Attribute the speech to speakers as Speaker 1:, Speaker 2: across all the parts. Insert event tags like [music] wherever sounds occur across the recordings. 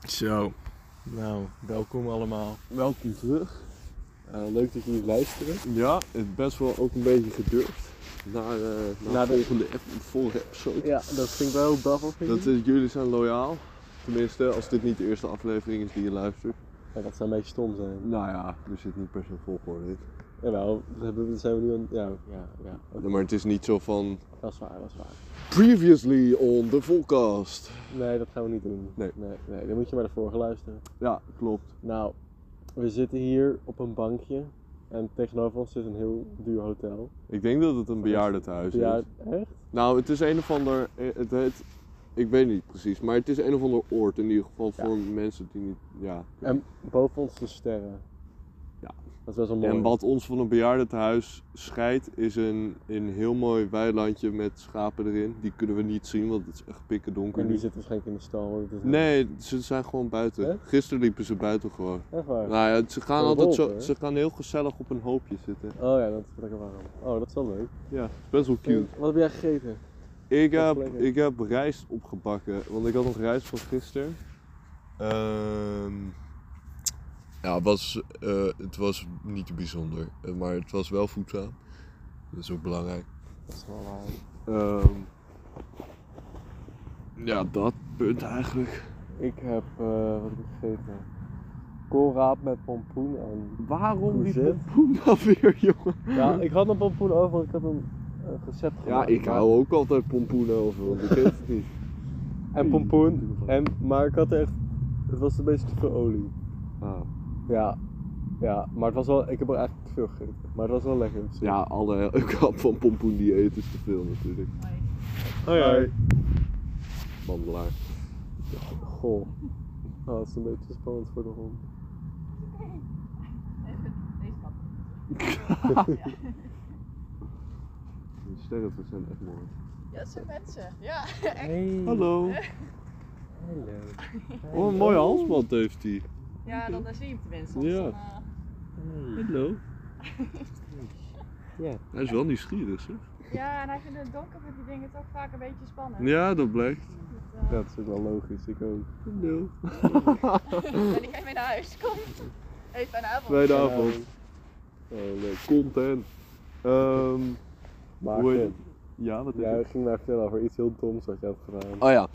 Speaker 1: Zo.
Speaker 2: Nou, welkom allemaal. Nou,
Speaker 1: Welkom terug. Eh, leuk dat jullie luisteren. Ja, het best wel ook een beetje gedurfd. Naar, eh naar
Speaker 2: Naar
Speaker 1: de
Speaker 2: de-
Speaker 1: volgende, ep- volgende episode.
Speaker 2: Ja, dat vind ik wel heel baffel.
Speaker 1: Dat, eh, jullie zijn loyaal. Tenminste, als dit niet de eerste aflevering is die je luistert.
Speaker 2: dat zou een beetje stom zijn.
Speaker 1: Nou ja, er zit niet per se volgorde in.
Speaker 2: Jawel, dat hebben, dat zijn we nu aan... Ja, ja, ja. Oké,
Speaker 1: Maar het is niet zo van...
Speaker 2: dat is waar, dat is waar.
Speaker 1: Previously on the Volcast.
Speaker 2: Nee, dat gaan we niet doen.
Speaker 1: Nee.
Speaker 2: Nee, nee dan moet je maar de vorige luisteren.
Speaker 1: Ja, klopt.
Speaker 2: Nou, we zitten hier op een bankje. En tegenover ons is een heel duur hotel.
Speaker 1: Ik denk dat het een bejaardentehuis is.
Speaker 2: Ja, echt?
Speaker 1: Nou, het is een of ander. eh, Het heet. Ik weet niet precies, maar het is een of ander oord in ieder geval
Speaker 2: Ja.
Speaker 1: voor mensen die niet. Ja.
Speaker 2: En boven ons de sterren.
Speaker 1: Ja.
Speaker 2: Dat is best wel mooi.
Speaker 1: En wat ons van een bejaardentehuis scheidt, is een, een heel mooi weilandje met schapen erin. Die kunnen we niet zien, want het is echt pikken donker.
Speaker 2: En die zit waarschijnlijk in de stal. want het is
Speaker 1: Nee, ze zijn gewoon buiten.
Speaker 2: Echt?
Speaker 1: Gisteren liepen ze buiten gewoon.
Speaker 2: Echt waar?
Speaker 1: Nou ja, ze gaan
Speaker 2: Een
Speaker 1: altijd
Speaker 2: wolk,
Speaker 1: zo.
Speaker 2: hè?
Speaker 1: Ze gaan heel gezellig op een hoopje zitten.
Speaker 2: Oh ja, dat is lekker warm. Oh, dat is wel leuk.
Speaker 1: Ja, het is best wel cute.
Speaker 2: Wat heb jij gegeten?
Speaker 1: Ik
Speaker 2: Dat is
Speaker 1: heb,
Speaker 2: lekker.
Speaker 1: ik heb rijst opgebakken, want ik had nog rijst van gisteren. Ehm, ja, het was, eh, het was niet bijzonder, eh, maar het was wel voedzaam. Dat is ook belangrijk.
Speaker 2: Dat is wel waar.
Speaker 1: Ehm, ja, dat punt eigenlijk.
Speaker 2: Ik heb, eh, wat heb ik gegeten? Koolraap met pompoen en...
Speaker 1: Waarom die
Speaker 2: die
Speaker 1: pompoen dan [laughs] weer, jongen?
Speaker 2: Ja, [laughs] ik had een pompoen over, ik had een, een recept
Speaker 1: Ja,
Speaker 2: gemaakt.
Speaker 1: ik hou ook altijd pompoen over, want ik weet het niet.
Speaker 2: En pompoen, en, maar ik had echt... Het was een beetje te veel olie.
Speaker 1: Ah,
Speaker 2: Ja. Ja, maar het was wel... Ik heb er eigenlijk te veel gegeten. Maar het was wel lekker.
Speaker 1: ja, alle kap van pompoen die eten is te veel natuurlijk.
Speaker 3: [laughs]
Speaker 2: Oh ja.
Speaker 1: Wandelaar.
Speaker 2: Goh. Oh, dat is een beetje spannend voor de hond.
Speaker 3: Deze kant.
Speaker 1: [laughs] Die sterren dat zijn echt mooi.
Speaker 3: Ja, dat zijn mensen. Ja.
Speaker 2: Hey.
Speaker 1: Hallo.
Speaker 2: Hallo.
Speaker 1: Oh, een mooie halsband heeft hij.
Speaker 3: Ja, dan zie je hem tenminste.
Speaker 1: Ja.
Speaker 3: Dan,
Speaker 1: [laughs]
Speaker 3: eh,
Speaker 1: Hallo.
Speaker 2: Ja.
Speaker 1: Hij is wel nieuwsgierig, hè?
Speaker 3: ja, en hij vindt het donker met die dingen toch vaak een beetje spannend.
Speaker 1: Ja, dat blijkt.
Speaker 3: Dus, eh,
Speaker 2: Ja, dat is ook wel logisch, ik ook.
Speaker 1: Hallo.
Speaker 3: En ik ga mee naar huis. Kom. Hey, fijne avond.
Speaker 1: Tweede
Speaker 2: Ja.
Speaker 1: avond.
Speaker 2: Oh, leuk.
Speaker 1: Content. Ehm,
Speaker 2: Maar
Speaker 1: Hoe heet
Speaker 2: Finn,
Speaker 1: ja, wat is
Speaker 2: jij
Speaker 1: het?
Speaker 2: ging mij vertellen over iets heel doms wat je had gedaan.
Speaker 1: Oh ja.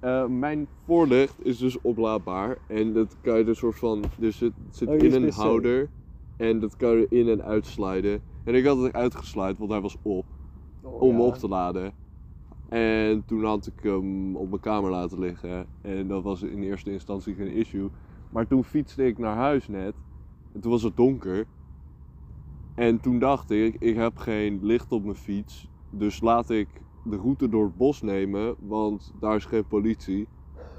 Speaker 1: Eh, mijn voorlicht is dus oplaadbaar. En dat kan je dus soort van. Dus het zit
Speaker 2: Oh, je
Speaker 1: in een
Speaker 2: USB-C.
Speaker 1: houder. En dat kan je in en uitslijden. En ik had het uitgesluit, want hij was op. om
Speaker 2: ja.
Speaker 1: me op te laden. En toen had ik hem op mijn kamer laten liggen. En dat was in eerste instantie geen issue. Maar toen fietste ik naar huis net. En toen was het donker. En toen dacht ik, ik heb geen licht op mijn fiets. Dus laat ik de route door het bos nemen. Want daar is geen politie.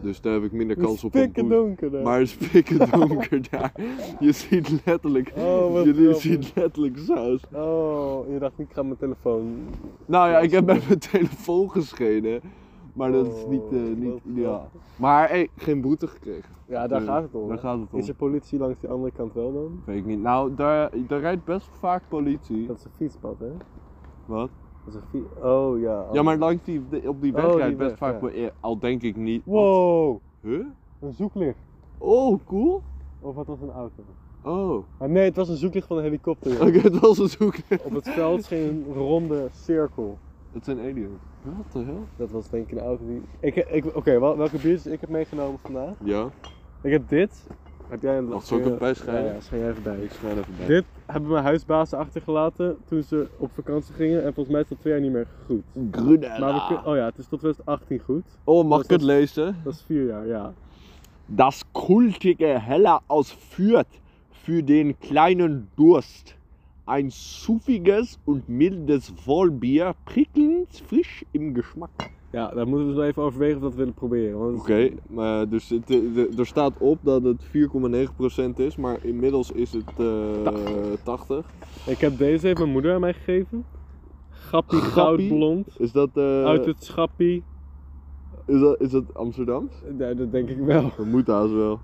Speaker 1: Dus daar heb ik minder
Speaker 2: Het is
Speaker 1: kans op een
Speaker 2: pikken
Speaker 1: boete.
Speaker 2: donker daar.
Speaker 1: Maar het is pikken donker [laughs] daar. Je ziet letterlijk,
Speaker 2: Oh, wat
Speaker 1: je
Speaker 2: grappig.
Speaker 1: ziet letterlijk saus.
Speaker 2: Oh, je dacht, ik ga mijn telefoon.
Speaker 1: Nou ja, ik heb met mijn telefoon geschenen. Maar dat is niet, eh,
Speaker 2: Oh,
Speaker 1: niet
Speaker 2: wat
Speaker 1: ideaal.
Speaker 2: grappig.
Speaker 1: Maar hey, geen boete gekregen.
Speaker 2: Ja, daar
Speaker 1: Dus,
Speaker 2: gaat het om.
Speaker 1: Daar
Speaker 2: hè?
Speaker 1: gaat het om.
Speaker 2: Is er politie langs die andere kant wel dan?
Speaker 1: Weet ik niet. Nou, daar, daar rijdt best vaak politie.
Speaker 2: Dat is een fietspad, hè?
Speaker 1: Wat?
Speaker 2: Dat is een fiets... Oh, ja. oh.
Speaker 1: Ja, maar langs die, de- op die weg
Speaker 2: Oh, die
Speaker 1: rijdt best
Speaker 2: weg,
Speaker 1: vaak
Speaker 2: ja.
Speaker 1: politie. Al denk ik niet.
Speaker 2: Wow,
Speaker 1: Huh?
Speaker 2: een zoeklicht.
Speaker 1: Oh, cool.
Speaker 2: Of wat was een auto?
Speaker 1: Oh. [laughs]
Speaker 2: Ah, nee, het was een zoeklicht van een helikopter. joh.
Speaker 1: Oké, dat was een zoek.
Speaker 2: Op het veld scheen een ronde cirkel.
Speaker 1: Het zijn aliens. Wat de hel?
Speaker 2: Dat was denk ik een auto die... Ik, ik, Oké, wel- welke biertjes ik heb meegenomen vandaag?
Speaker 1: Ja.
Speaker 2: Ik heb dit. Heb jij een
Speaker 1: Wacht, zal ik hem bijschrijven?
Speaker 2: Ja, ja, schijn jij even bij.
Speaker 1: Ik schijn even bij.
Speaker 2: Dit hebben mijn huisbazen achtergelaten toen ze op vakantie gingen. En volgens mij is dat twee jaar niet meer goed.
Speaker 1: Grudella.
Speaker 2: Maar we kun- oh ja, het is tot 2018 goed.
Speaker 1: Oh, mag
Speaker 2: dat
Speaker 1: ik het
Speaker 2: is-
Speaker 1: lezen?
Speaker 2: Dat is vier jaar, ja.
Speaker 1: Das kultige Heller aus Fürth für den kleinen Durst. Ein zuffiges und mildes Vollbier, prickelnd frisch im Geschmack.
Speaker 2: Ja, daar moeten we dus wel even overwegen of we dat willen proberen. Want
Speaker 1: Oké, maar dus het, eh, er staat op dat het 4,9% is, maar inmiddels is het eh, 80.
Speaker 2: Ik heb deze heeft mijn moeder aan mij gegeven. Gappie,
Speaker 1: Gappie?
Speaker 2: goudblond.
Speaker 1: Is dat, eh,
Speaker 2: Uit Oh, het schappie.
Speaker 1: is dat, is dat Amsterdams?
Speaker 2: Ja, dat denk ik wel.
Speaker 1: Dat moet haast wel.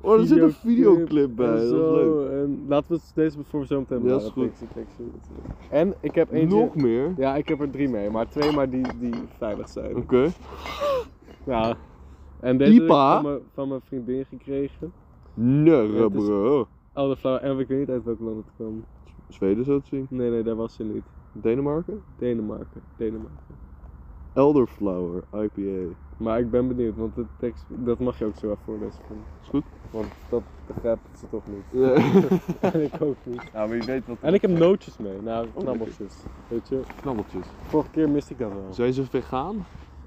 Speaker 1: Oh, er zit een videoclip bij,
Speaker 2: en
Speaker 1: dat is
Speaker 2: zo,
Speaker 1: leuk.
Speaker 2: En laten we dus deze voor zo meteen
Speaker 1: Ja,
Speaker 2: bewaren.
Speaker 1: is goed.
Speaker 2: Pixie, Pixie. En ik heb eentje...
Speaker 1: Nog meer?
Speaker 2: Ja, ik heb er drie mee, maar twee maar die, die veilig zijn.
Speaker 1: Oké.
Speaker 2: Ja. En deze heb ik
Speaker 1: IPA?
Speaker 2: van mijn- van mijn vriendin gekregen.
Speaker 1: Nerre,
Speaker 2: Het is-
Speaker 1: bro.
Speaker 2: Oh, de flauw. En ik weet niet uit welk land het kwam.
Speaker 1: Zweden zo te zien.
Speaker 2: Nee, nee, daar was ze niet.
Speaker 1: Denemarken.
Speaker 2: Denemarken. Denemarken.
Speaker 1: Elderflower IPA.
Speaker 2: Maar ik ben benieuwd, want de tekst, dat mag je ook zo even voorlezen. Van.
Speaker 1: Is goed?
Speaker 2: Want dat begrijpt ze toch [laughs] niet.
Speaker 1: [laughs]
Speaker 2: en ik ook niet.
Speaker 1: nou, maar je weet wat.
Speaker 2: En ik heb nootjes mee. Nou,
Speaker 1: lekker.
Speaker 2: knabbeltjes. Weet je,
Speaker 1: knabbeltjes.
Speaker 2: vorige keer miste ik dat wel.
Speaker 1: Zijn ze vegan?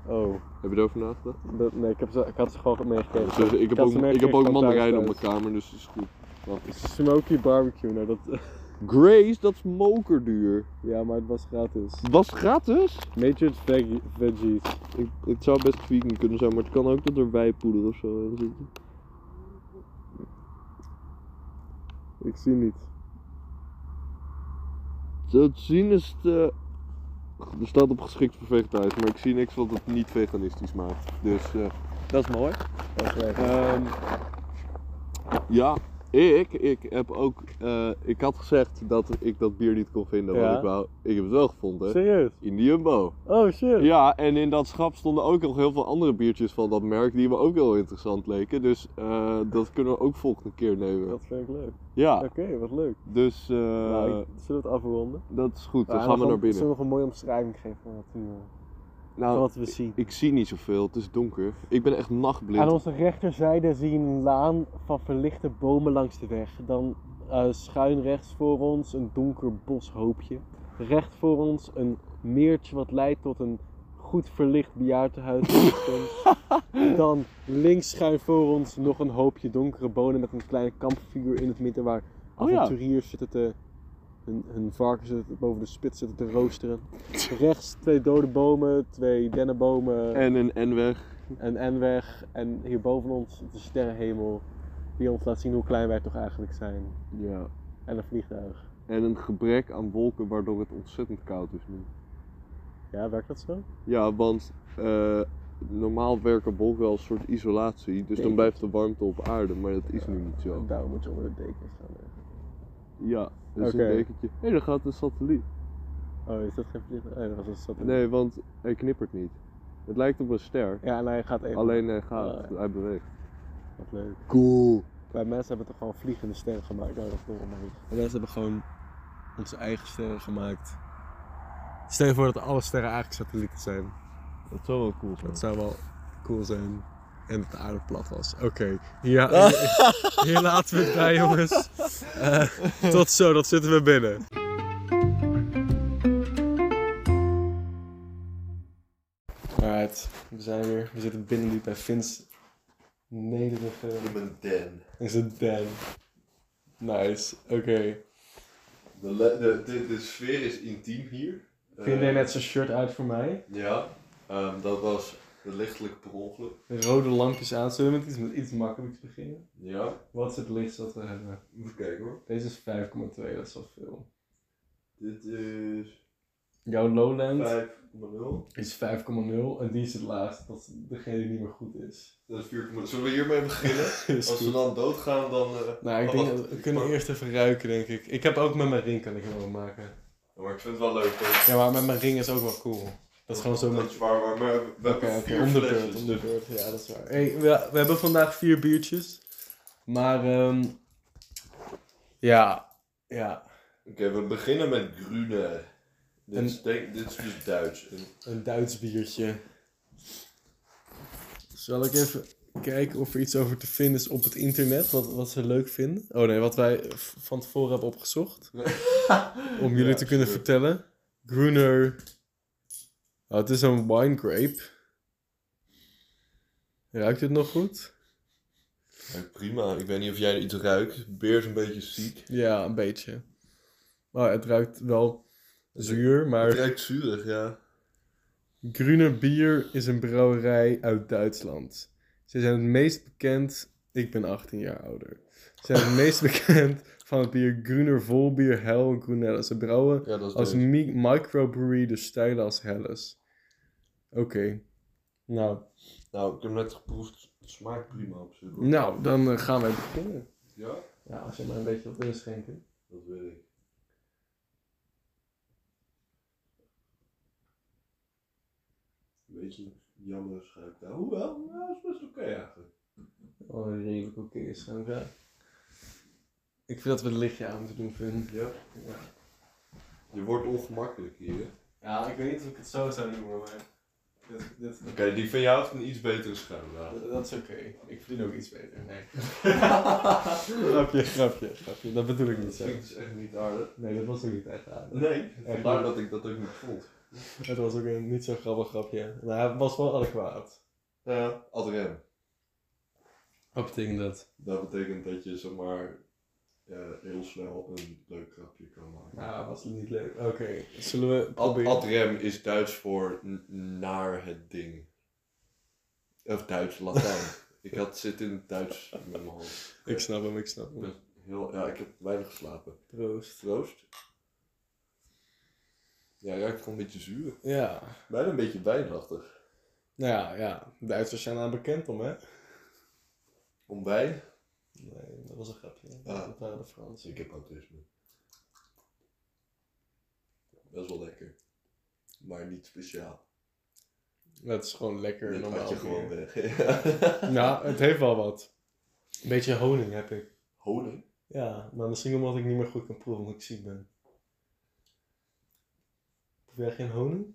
Speaker 2: Oh,
Speaker 1: Heb je daarover nagedacht?
Speaker 2: dat, nee, ik, heb ze, ik had ze gewoon meegekregen.
Speaker 1: Dus, eh, ik heb
Speaker 2: had
Speaker 1: ook,
Speaker 2: ze
Speaker 1: ik heb ook
Speaker 2: meegekregen van
Speaker 1: mandarijnen op
Speaker 2: thuis
Speaker 1: mijn kamer, dus dat is goed.
Speaker 2: thuis. Smoky barbecue, nou dat... [laughs]
Speaker 1: Grace, dat is mokerduur.
Speaker 2: ja, maar het was gratis.
Speaker 1: Was gratis?
Speaker 2: Majored veggie, veggies.
Speaker 1: Ik, het zou best vegan kunnen zijn, maar het kan ook dat er wijpoeder of zo in zit.
Speaker 2: Ik zie niet.
Speaker 1: Dat zien is te... Er staat op geschikt voor vegetarisch, maar ik zie niks wat het niet veganistisch maakt. Dus eh, dat is mooi.
Speaker 2: Oké.
Speaker 1: Ehm, ja, ik, ik heb ook... eh, ik had gezegd dat ik dat bier niet kon vinden wat
Speaker 2: Ja.
Speaker 1: ik wou. Ik heb het wel gevonden.
Speaker 2: Serieus?
Speaker 1: In die Jumbo.
Speaker 2: Oh shit.
Speaker 1: Ja, en in dat schap stonden ook nog heel veel andere biertjes van dat merk die me ook heel interessant leken. Dus eh, dat kunnen we ook volgende keer nemen.
Speaker 2: Dat vind ik leuk.
Speaker 1: Ja,
Speaker 2: Oké, wat leuk.
Speaker 1: dus eh,
Speaker 2: nou, ik, zullen we het afronden?
Speaker 1: dat is goed. Dan
Speaker 2: Ja,
Speaker 1: gaan we naar binnen.
Speaker 2: Zullen we nog een mooie omschrijving geven van wat, we- van
Speaker 1: Nou,
Speaker 2: wat we zien?
Speaker 1: ik zie niet zoveel. Het is donker. Ik ben echt
Speaker 2: Aan
Speaker 1: nachtblind.
Speaker 2: onze rechterzijde zie je een laan van verlichte bomen langs de weg. Dan eh, schuin rechts voor ons een donker boshoopje. Recht voor ons een meertje wat leidt tot een goed verlicht
Speaker 1: [laughs]
Speaker 2: bejaardenhuis. Dan links schuin voor ons nog een hoopje donkere bonen met een kleine kampvuur in het midden waar
Speaker 1: Oh ja.
Speaker 2: avonturiers zitten te... Hun, hun varkens zitten boven de spits zitten te roosteren. Rechts twee dode bomen, twee dennenbomen.
Speaker 1: En een N-weg.
Speaker 2: En N-weg en hier boven ons de sterrenhemel die ons laat zien hoe klein wij toch eigenlijk zijn.
Speaker 1: Ja.
Speaker 2: En een vliegtuig.
Speaker 1: En een gebrek aan wolken waardoor het ontzettend koud is nu.
Speaker 2: Ja, werkt dat zo?
Speaker 1: Ja, want eh, normaal werken wolken als soort isolatie. Dus dan
Speaker 2: Denk
Speaker 1: blijft de warmte op aarde. Maar dat is nu niet zo.
Speaker 2: Daarom moet je onder de dekens gaan liggen.
Speaker 1: Ja, dat is
Speaker 2: Oké.
Speaker 1: een dekentje. Hé, daar gaat een satelliet.
Speaker 2: Oh, is dat geen vliegtuig? Oh, dat was een satelliet.
Speaker 1: Nee, want hij knippert niet. Het lijkt op een ster.
Speaker 2: Ja, en hij gaat even.
Speaker 1: Alleen hij gaat,
Speaker 2: Ah, ja.
Speaker 1: hij beweegt.
Speaker 2: Wat leuk.
Speaker 1: Cool.
Speaker 2: Wij mensen hebben toch gewoon vliegende sterren gemaakt? Oh, dat is normaal. Wij mensen hebben gewoon onze eigen sterren gemaakt. Stel je voor dat alle sterren eigenlijk satellieten zijn.
Speaker 1: Dat zou wel cool zijn.
Speaker 2: Dat zou wel cool zijn. En dat de aarde plat was. Oké, [laughs] hier, hier laten we het bij, jongens. Eh, tot zo, dat zitten we binnen. Alright, we zijn weer. We zitten binnen nu bij Vins nederige...
Speaker 1: ben Dan.
Speaker 2: Is het Dan? Nice, oké.
Speaker 1: De, de, de, de sfeer is intiem hier. Eh,
Speaker 2: Vind jij net zijn shirt uit voor mij?
Speaker 1: Ja, ehm, dat was lichtelijk per ongeluk.
Speaker 2: Rode lampjes aan. Zullen we met iets, met iets makkelijks beginnen?
Speaker 1: Ja,
Speaker 2: Wat is het lichtst dat we hebben?
Speaker 1: even kijken hoor.
Speaker 2: Deze is 5,2, dat is wel veel.
Speaker 1: Dit is
Speaker 2: Jouw Lowland
Speaker 1: 5,0.
Speaker 2: is 5,0 en die is het laatst. Dat is degene die niet meer goed [laughs] is.
Speaker 1: Dat is 4,0. Zullen we hiermee beginnen?
Speaker 2: Is goed.
Speaker 1: dan doodgaan, dan... eh,
Speaker 2: Nou, ik
Speaker 1: Oh,
Speaker 2: denk
Speaker 1: wacht,
Speaker 2: dat we
Speaker 1: ik
Speaker 2: kunnen
Speaker 1: pak-
Speaker 2: eerst even ruiken, denk ik. Ik heb ook met mijn ring kan ik hem wel maken.
Speaker 1: Maar ik vind het wel leuk
Speaker 2: Ja,
Speaker 1: hoor.
Speaker 2: maar met mijn ring is ook wel cool. Dat is gewoon zo met...
Speaker 1: Dat is waar, maar we, we
Speaker 2: Oké,
Speaker 1: hebben
Speaker 2: oké,
Speaker 1: vier
Speaker 2: om de
Speaker 1: flesjes,
Speaker 2: beurt, om de
Speaker 1: dus-
Speaker 2: beurt. Ja, dat is waar. Hey, we, we hebben vandaag vier biertjes. Maar, ehm ja, ja.
Speaker 1: Oké, we beginnen met Grüne. Dit,
Speaker 2: En-
Speaker 1: is denk- dit is dus Duits. En
Speaker 2: Een Duits biertje. Zal ik even kijken of er iets over te vinden is op het internet, wat, wat ze leuk vinden? Oh nee, wat wij v- van tevoren hebben opgezocht. om jullie
Speaker 1: Ja,
Speaker 2: te kunnen
Speaker 1: sure.
Speaker 2: vertellen. Gruner. Oh, het is een wine grape. Ruikt het nog goed?
Speaker 1: Ja, prima, ik weet niet of jij iets ruikt. Beer is een beetje ziek.
Speaker 2: Ja, een beetje. Maar het ruikt wel zuur, maar...
Speaker 1: Het ruikt zuurig, ja.
Speaker 2: Gruner Bier is een brouwerij uit Duitsland. Ze zijn het meest bekend. Ik ben 18 jaar ouder. Ze zijn het meest [laughs] bekend van het bier Gruner Volbier Hell Grunella. Ze brouwen
Speaker 1: Ja, dat is
Speaker 2: als
Speaker 1: Duits.
Speaker 2: mi- microbrewery de stijlen als Helles. Oké. Nou,
Speaker 1: Nou, ik heb net geproefd. Het smaakt prima op zich. hoor.
Speaker 2: nou, dan eh, gaan wij beginnen.
Speaker 1: Ja?
Speaker 2: Ja, als je maar een beetje wat inschenken.
Speaker 1: Dat weet ik. Een beetje jammer schuikt daar. Hoewel, nou, is best oké eigenlijk.
Speaker 2: Oh, redelijk oké is gewoon ja. Ik vind dat we het lichtje aan moeten doen, Fun.
Speaker 1: Ja.
Speaker 2: Ja.
Speaker 1: Je wordt ongemakkelijk hier. hè?
Speaker 2: ja, ik weet niet of ik het zo zou noemen, maar... Dit, dit,
Speaker 1: Oké, die van jou heeft een iets betere schuimlaag.
Speaker 2: dat is oké. Ik verdien ook iets beter. Nee. [laughs] grapje, grapje, grapje. Dat bedoel ik niet
Speaker 1: Dat
Speaker 2: zo.
Speaker 1: vind ik dus echt niet aardig.
Speaker 2: Nee, dat was ook niet echt aan.
Speaker 1: Nee,
Speaker 2: waar?
Speaker 1: vandaar dat ik dat ook niet vond.
Speaker 2: Het was ook een niet zo grappig grapje. Maar het was wel adequaat.
Speaker 1: Ja. Ad rem.
Speaker 2: Wat betekent dat?
Speaker 1: Dat betekent dat je zomaar eh, heel snel een leuk grapje kan maken.
Speaker 2: Nou, was niet leuk. Oké, zullen we
Speaker 1: Ad,
Speaker 2: proberen?
Speaker 1: ad rem is Duits voor n- naar het ding. Of
Speaker 2: [laughs]
Speaker 1: Duits, Latijn. ik had zit in het Duits in mijn hoofd.
Speaker 2: Ik snap hem, ik snap hem.
Speaker 1: Ja. Heel, ja, ik heb weinig geslapen.
Speaker 2: Proost.
Speaker 1: Troost. Ja, ruikt gewoon een beetje zuur.
Speaker 2: Ja,
Speaker 1: Bijna een beetje wijnachtig.
Speaker 2: nou ja, ja. Duitsers zijn daar bekend om, hè?
Speaker 1: Om wijn?
Speaker 2: Nee, dat was een grapje.
Speaker 1: Ah.
Speaker 2: Dat waren de Fransen.
Speaker 1: Ik heb autisme. Best wel lekker. Maar niet speciaal.
Speaker 2: Dat is gewoon lekker
Speaker 1: Dat
Speaker 2: normaal
Speaker 1: had je
Speaker 2: bier.
Speaker 1: gewoon weg.
Speaker 2: [laughs] Ja, het heeft wel wat. Een beetje honing heb ik.
Speaker 1: Honing?
Speaker 2: Ja, maar misschien omdat ik niet meer goed kan proeven omdat ik ziek ben. Proef jij geen honing?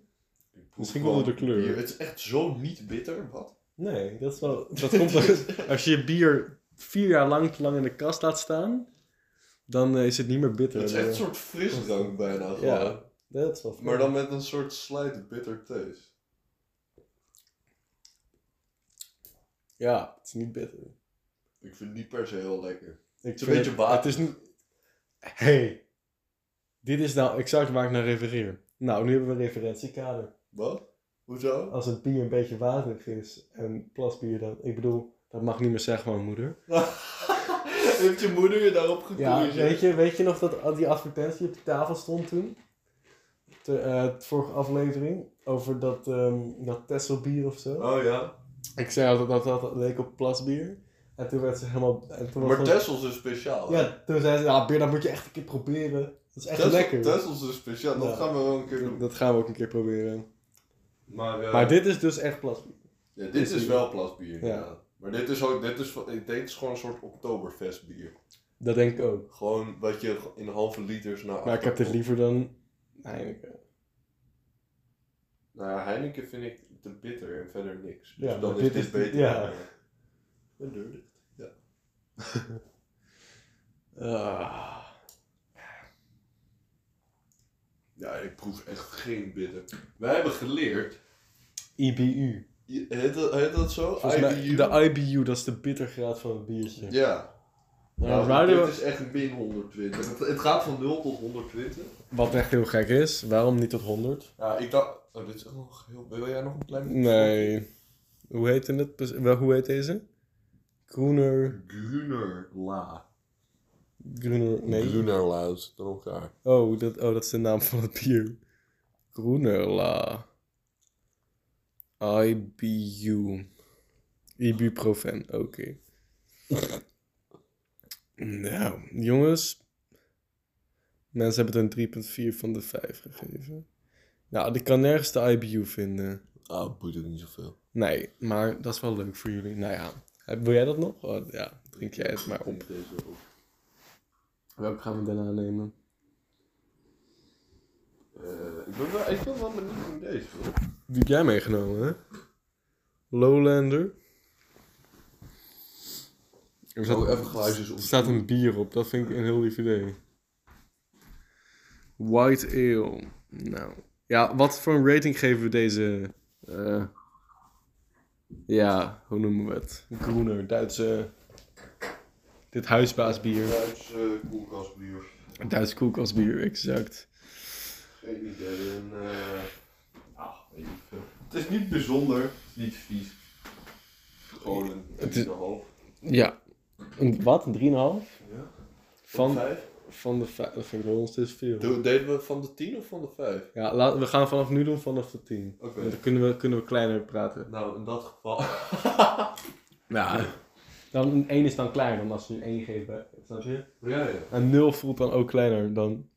Speaker 1: Ik proef
Speaker 2: Misschien
Speaker 1: gewoon
Speaker 2: wel door de kleur.
Speaker 1: bier. Het is echt zo niet bitter, wat?
Speaker 2: Nee, dat is wel... Dat komt als, Oh. [laughs] als je je bier vier jaar lang te lang in de kast laat staan, dan eh, is het niet meer bitter.
Speaker 1: Het is echt een soort frisdrank bijna gewoon.
Speaker 2: Ja, dat is wel fijn.
Speaker 1: Maar dan met een soort slijt bitter thees.
Speaker 2: Ja, het is niet bitter.
Speaker 1: Ik vind het niet per se heel lekker.
Speaker 2: Ik
Speaker 1: een
Speaker 2: vind
Speaker 1: beetje water.
Speaker 2: Het is niet... Hey, dit is nou exact waar ik naar refereer. Nou, nu hebben we een referentiekader.
Speaker 1: Wat?
Speaker 2: [laughs]
Speaker 1: Hoezo?
Speaker 2: Als het bier een beetje waterig is en plasbier dan... Ik bedoel, dat mag ik niet meer zeggen van mijn moeder.
Speaker 1: Heeft je moeder je daarop
Speaker 2: Ja,
Speaker 1: gecorrigeerd?
Speaker 2: weet je, weet je nog dat die advertentie op de tafel stond toen? De eh, vorige aflevering. Over dat, ehm dat Tesselbier of zo.
Speaker 1: Oh ja.
Speaker 2: Ik zei altijd dat dat, dat leek op plasbier. En toen werd ze helemaal... En toen was
Speaker 1: Maar
Speaker 2: dat-
Speaker 1: Tessels is speciaal. hè?
Speaker 2: Ja, toen zei ze, ja, bier, dat moet je echt een keer proberen. Dat is echt
Speaker 1: Tessels-
Speaker 2: lekker.
Speaker 1: Tessels is dus speciaal. Dat
Speaker 2: Ja.
Speaker 1: gaan we wel een keer doen.
Speaker 2: Dat gaan we ook een keer proberen.
Speaker 1: Maar, eh,
Speaker 2: Maar dit is dus echt plasbier.
Speaker 1: ja, dit
Speaker 2: dit
Speaker 1: is
Speaker 2: is-
Speaker 1: wel plasbier.
Speaker 2: Ja.
Speaker 1: inderdaad. Maar dit is ook, dit is, van- ik denk het is gewoon een soort oktoberfestbier.
Speaker 2: Dat denk ik ook.
Speaker 1: Gewoon wat je in halve liters naar
Speaker 2: Maar ik heb dit
Speaker 1: achter-
Speaker 2: liever dan Heineken.
Speaker 1: Nou ja, Heineken vind ik te bitter en verder niks. Dus
Speaker 2: Ja,
Speaker 1: dan
Speaker 2: maar
Speaker 1: is dit,
Speaker 2: dit is-
Speaker 1: beter. eh,
Speaker 2: ja.
Speaker 1: Een deurlicht.
Speaker 2: Ah.
Speaker 1: Ja, ik proef echt geen bitter. Wij hebben geleerd,
Speaker 2: IBU.
Speaker 1: je- heet dat, heet dat zo?
Speaker 2: Volgens mij-
Speaker 1: IBU?
Speaker 2: de IBU, dat is de bittergraad van het biertje.
Speaker 1: Ja.
Speaker 2: Maar
Speaker 1: Nou,
Speaker 2: waarom-
Speaker 1: dit is echt een min 120. Het, het gaat van 0 tot 120.
Speaker 2: Wat echt heel gek is, waarom niet tot 100?
Speaker 1: Ja, ik dacht... Oh, dit is ook nog heel... Wil jij nog een klein
Speaker 2: Nee. Hoe heet het? pres- Wel, hoe heet deze? Groener.
Speaker 1: Gruner la.
Speaker 2: Groener. Nee.
Speaker 1: la, dat zit aan elkaar.
Speaker 2: Oh, dat, oh, dat is de naam van het bier. Groenerla. IBU. Ibuprofen, oké. [laughs] nou, jongens. Mensen hebben het een 3,4 van de 5 gegeven. Nou, ik kan nergens de IBU vinden.
Speaker 1: Ah, boeit ook niet zoveel.
Speaker 2: Nee, maar dat is wel leuk voor jullie. Nou ja, heb- wil jij dat nog? Oh, ja, drink jij het maar op.
Speaker 1: Deze op.
Speaker 2: Welke gaan we daarna nemen?
Speaker 1: Eh, ik, ben wel, ik ben wel benieuwd hoe deze voelt.
Speaker 2: Die heb jij meegenomen, hè? Lowlander. Er staat,
Speaker 1: Oh, even geluidjes op.
Speaker 2: er staat een bier op, dat vind ik een heel lief idee. White Ale. Nou. Ja, wat voor een rating geven we deze... eh, ja, hoe noemen we het? Groener, Duitse... Dit huisbaasbier.
Speaker 1: Duits eh, koelkastbier.
Speaker 2: Duits koelkastbier, exact.
Speaker 1: Geen idee. En, eh, ah, weet ik veel. Het is niet bijzonder. Het is niet vies. Gewoon een
Speaker 2: Het is-
Speaker 1: 3,5.
Speaker 2: Ja. Een, wat? Een 3,5?
Speaker 1: Ja.
Speaker 2: Van,
Speaker 1: vijf?
Speaker 2: van de vijf. Dat vind ik wel ons dus veel.
Speaker 1: Doe- Deden we van de 10 of van de 5?
Speaker 2: Ja, laten, we gaan vanaf nu doen vanaf de 10.
Speaker 1: Oké.
Speaker 2: Want Dan kunnen we, kunnen we kleiner praten.
Speaker 1: Nou, in dat geval.
Speaker 2: Ja. Dan, 1 is dan kleiner dan als je een 1 geeft. bij- Snap je?
Speaker 1: ja, ja.
Speaker 2: En 0 voelt dan ook kleiner dan.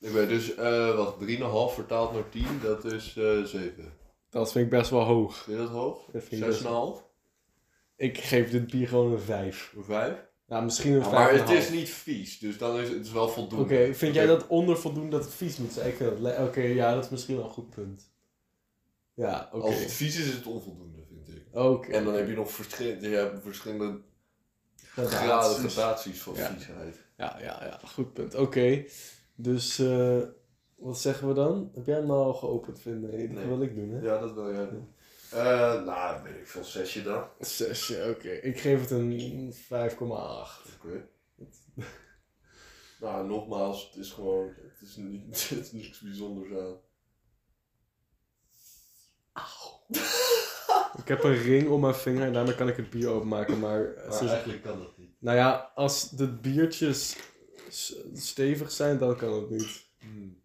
Speaker 1: Ik weet dus, eh wat 3,5 vertaald naar 10, dat is eh 7.
Speaker 2: Dat vind ik best wel hoog.
Speaker 1: Vind je dat hoog?
Speaker 2: Dat vind ik best-
Speaker 1: 6,5?
Speaker 2: Ik geef dit bier gewoon een 5.
Speaker 1: 5?
Speaker 2: Nou, misschien een 5.
Speaker 1: Ah, maar het is niet vies, dus dan is het is wel voldoende.
Speaker 2: Oké, vind
Speaker 1: Oké.
Speaker 2: jij dat onder voldoende dat het vies moet zijn? Ik vind dat le- Oké, ja, dat is misschien wel een goed punt. Ja, oké.
Speaker 1: Als het vies is, is het onvoldoende, vind ik.
Speaker 2: Oké.
Speaker 1: En dan heb je nog verschil- je hebt verschillende
Speaker 2: Gradaties.
Speaker 1: graden, gradaties van
Speaker 2: Ja.
Speaker 1: viesheid.
Speaker 2: Ja, ja, ja, goed punt. Oké, dus eh, wat zeggen we dan? Heb jij hem nou al geopend, vinden? Nee, dat
Speaker 1: Nee.
Speaker 2: wil ik doen, hè?
Speaker 1: Ja, dat wil jij doen. Eh, nou, weet ik veel, zesje dan.
Speaker 2: Zes, ja, oké. Ik geef het een 5,8.
Speaker 1: Oké. [laughs] nou, nogmaals, het is gewoon, het is, niet, [laughs] het is niks bijzonders aan.
Speaker 2: Ik heb een ring om mijn vinger en daarmee kan ik het bier openmaken, maar... het is-
Speaker 1: Maar eigenlijk kan dat niet.
Speaker 2: Nou ja, als de biertjes s- stevig zijn, dan kan het niet.
Speaker 1: Hmm.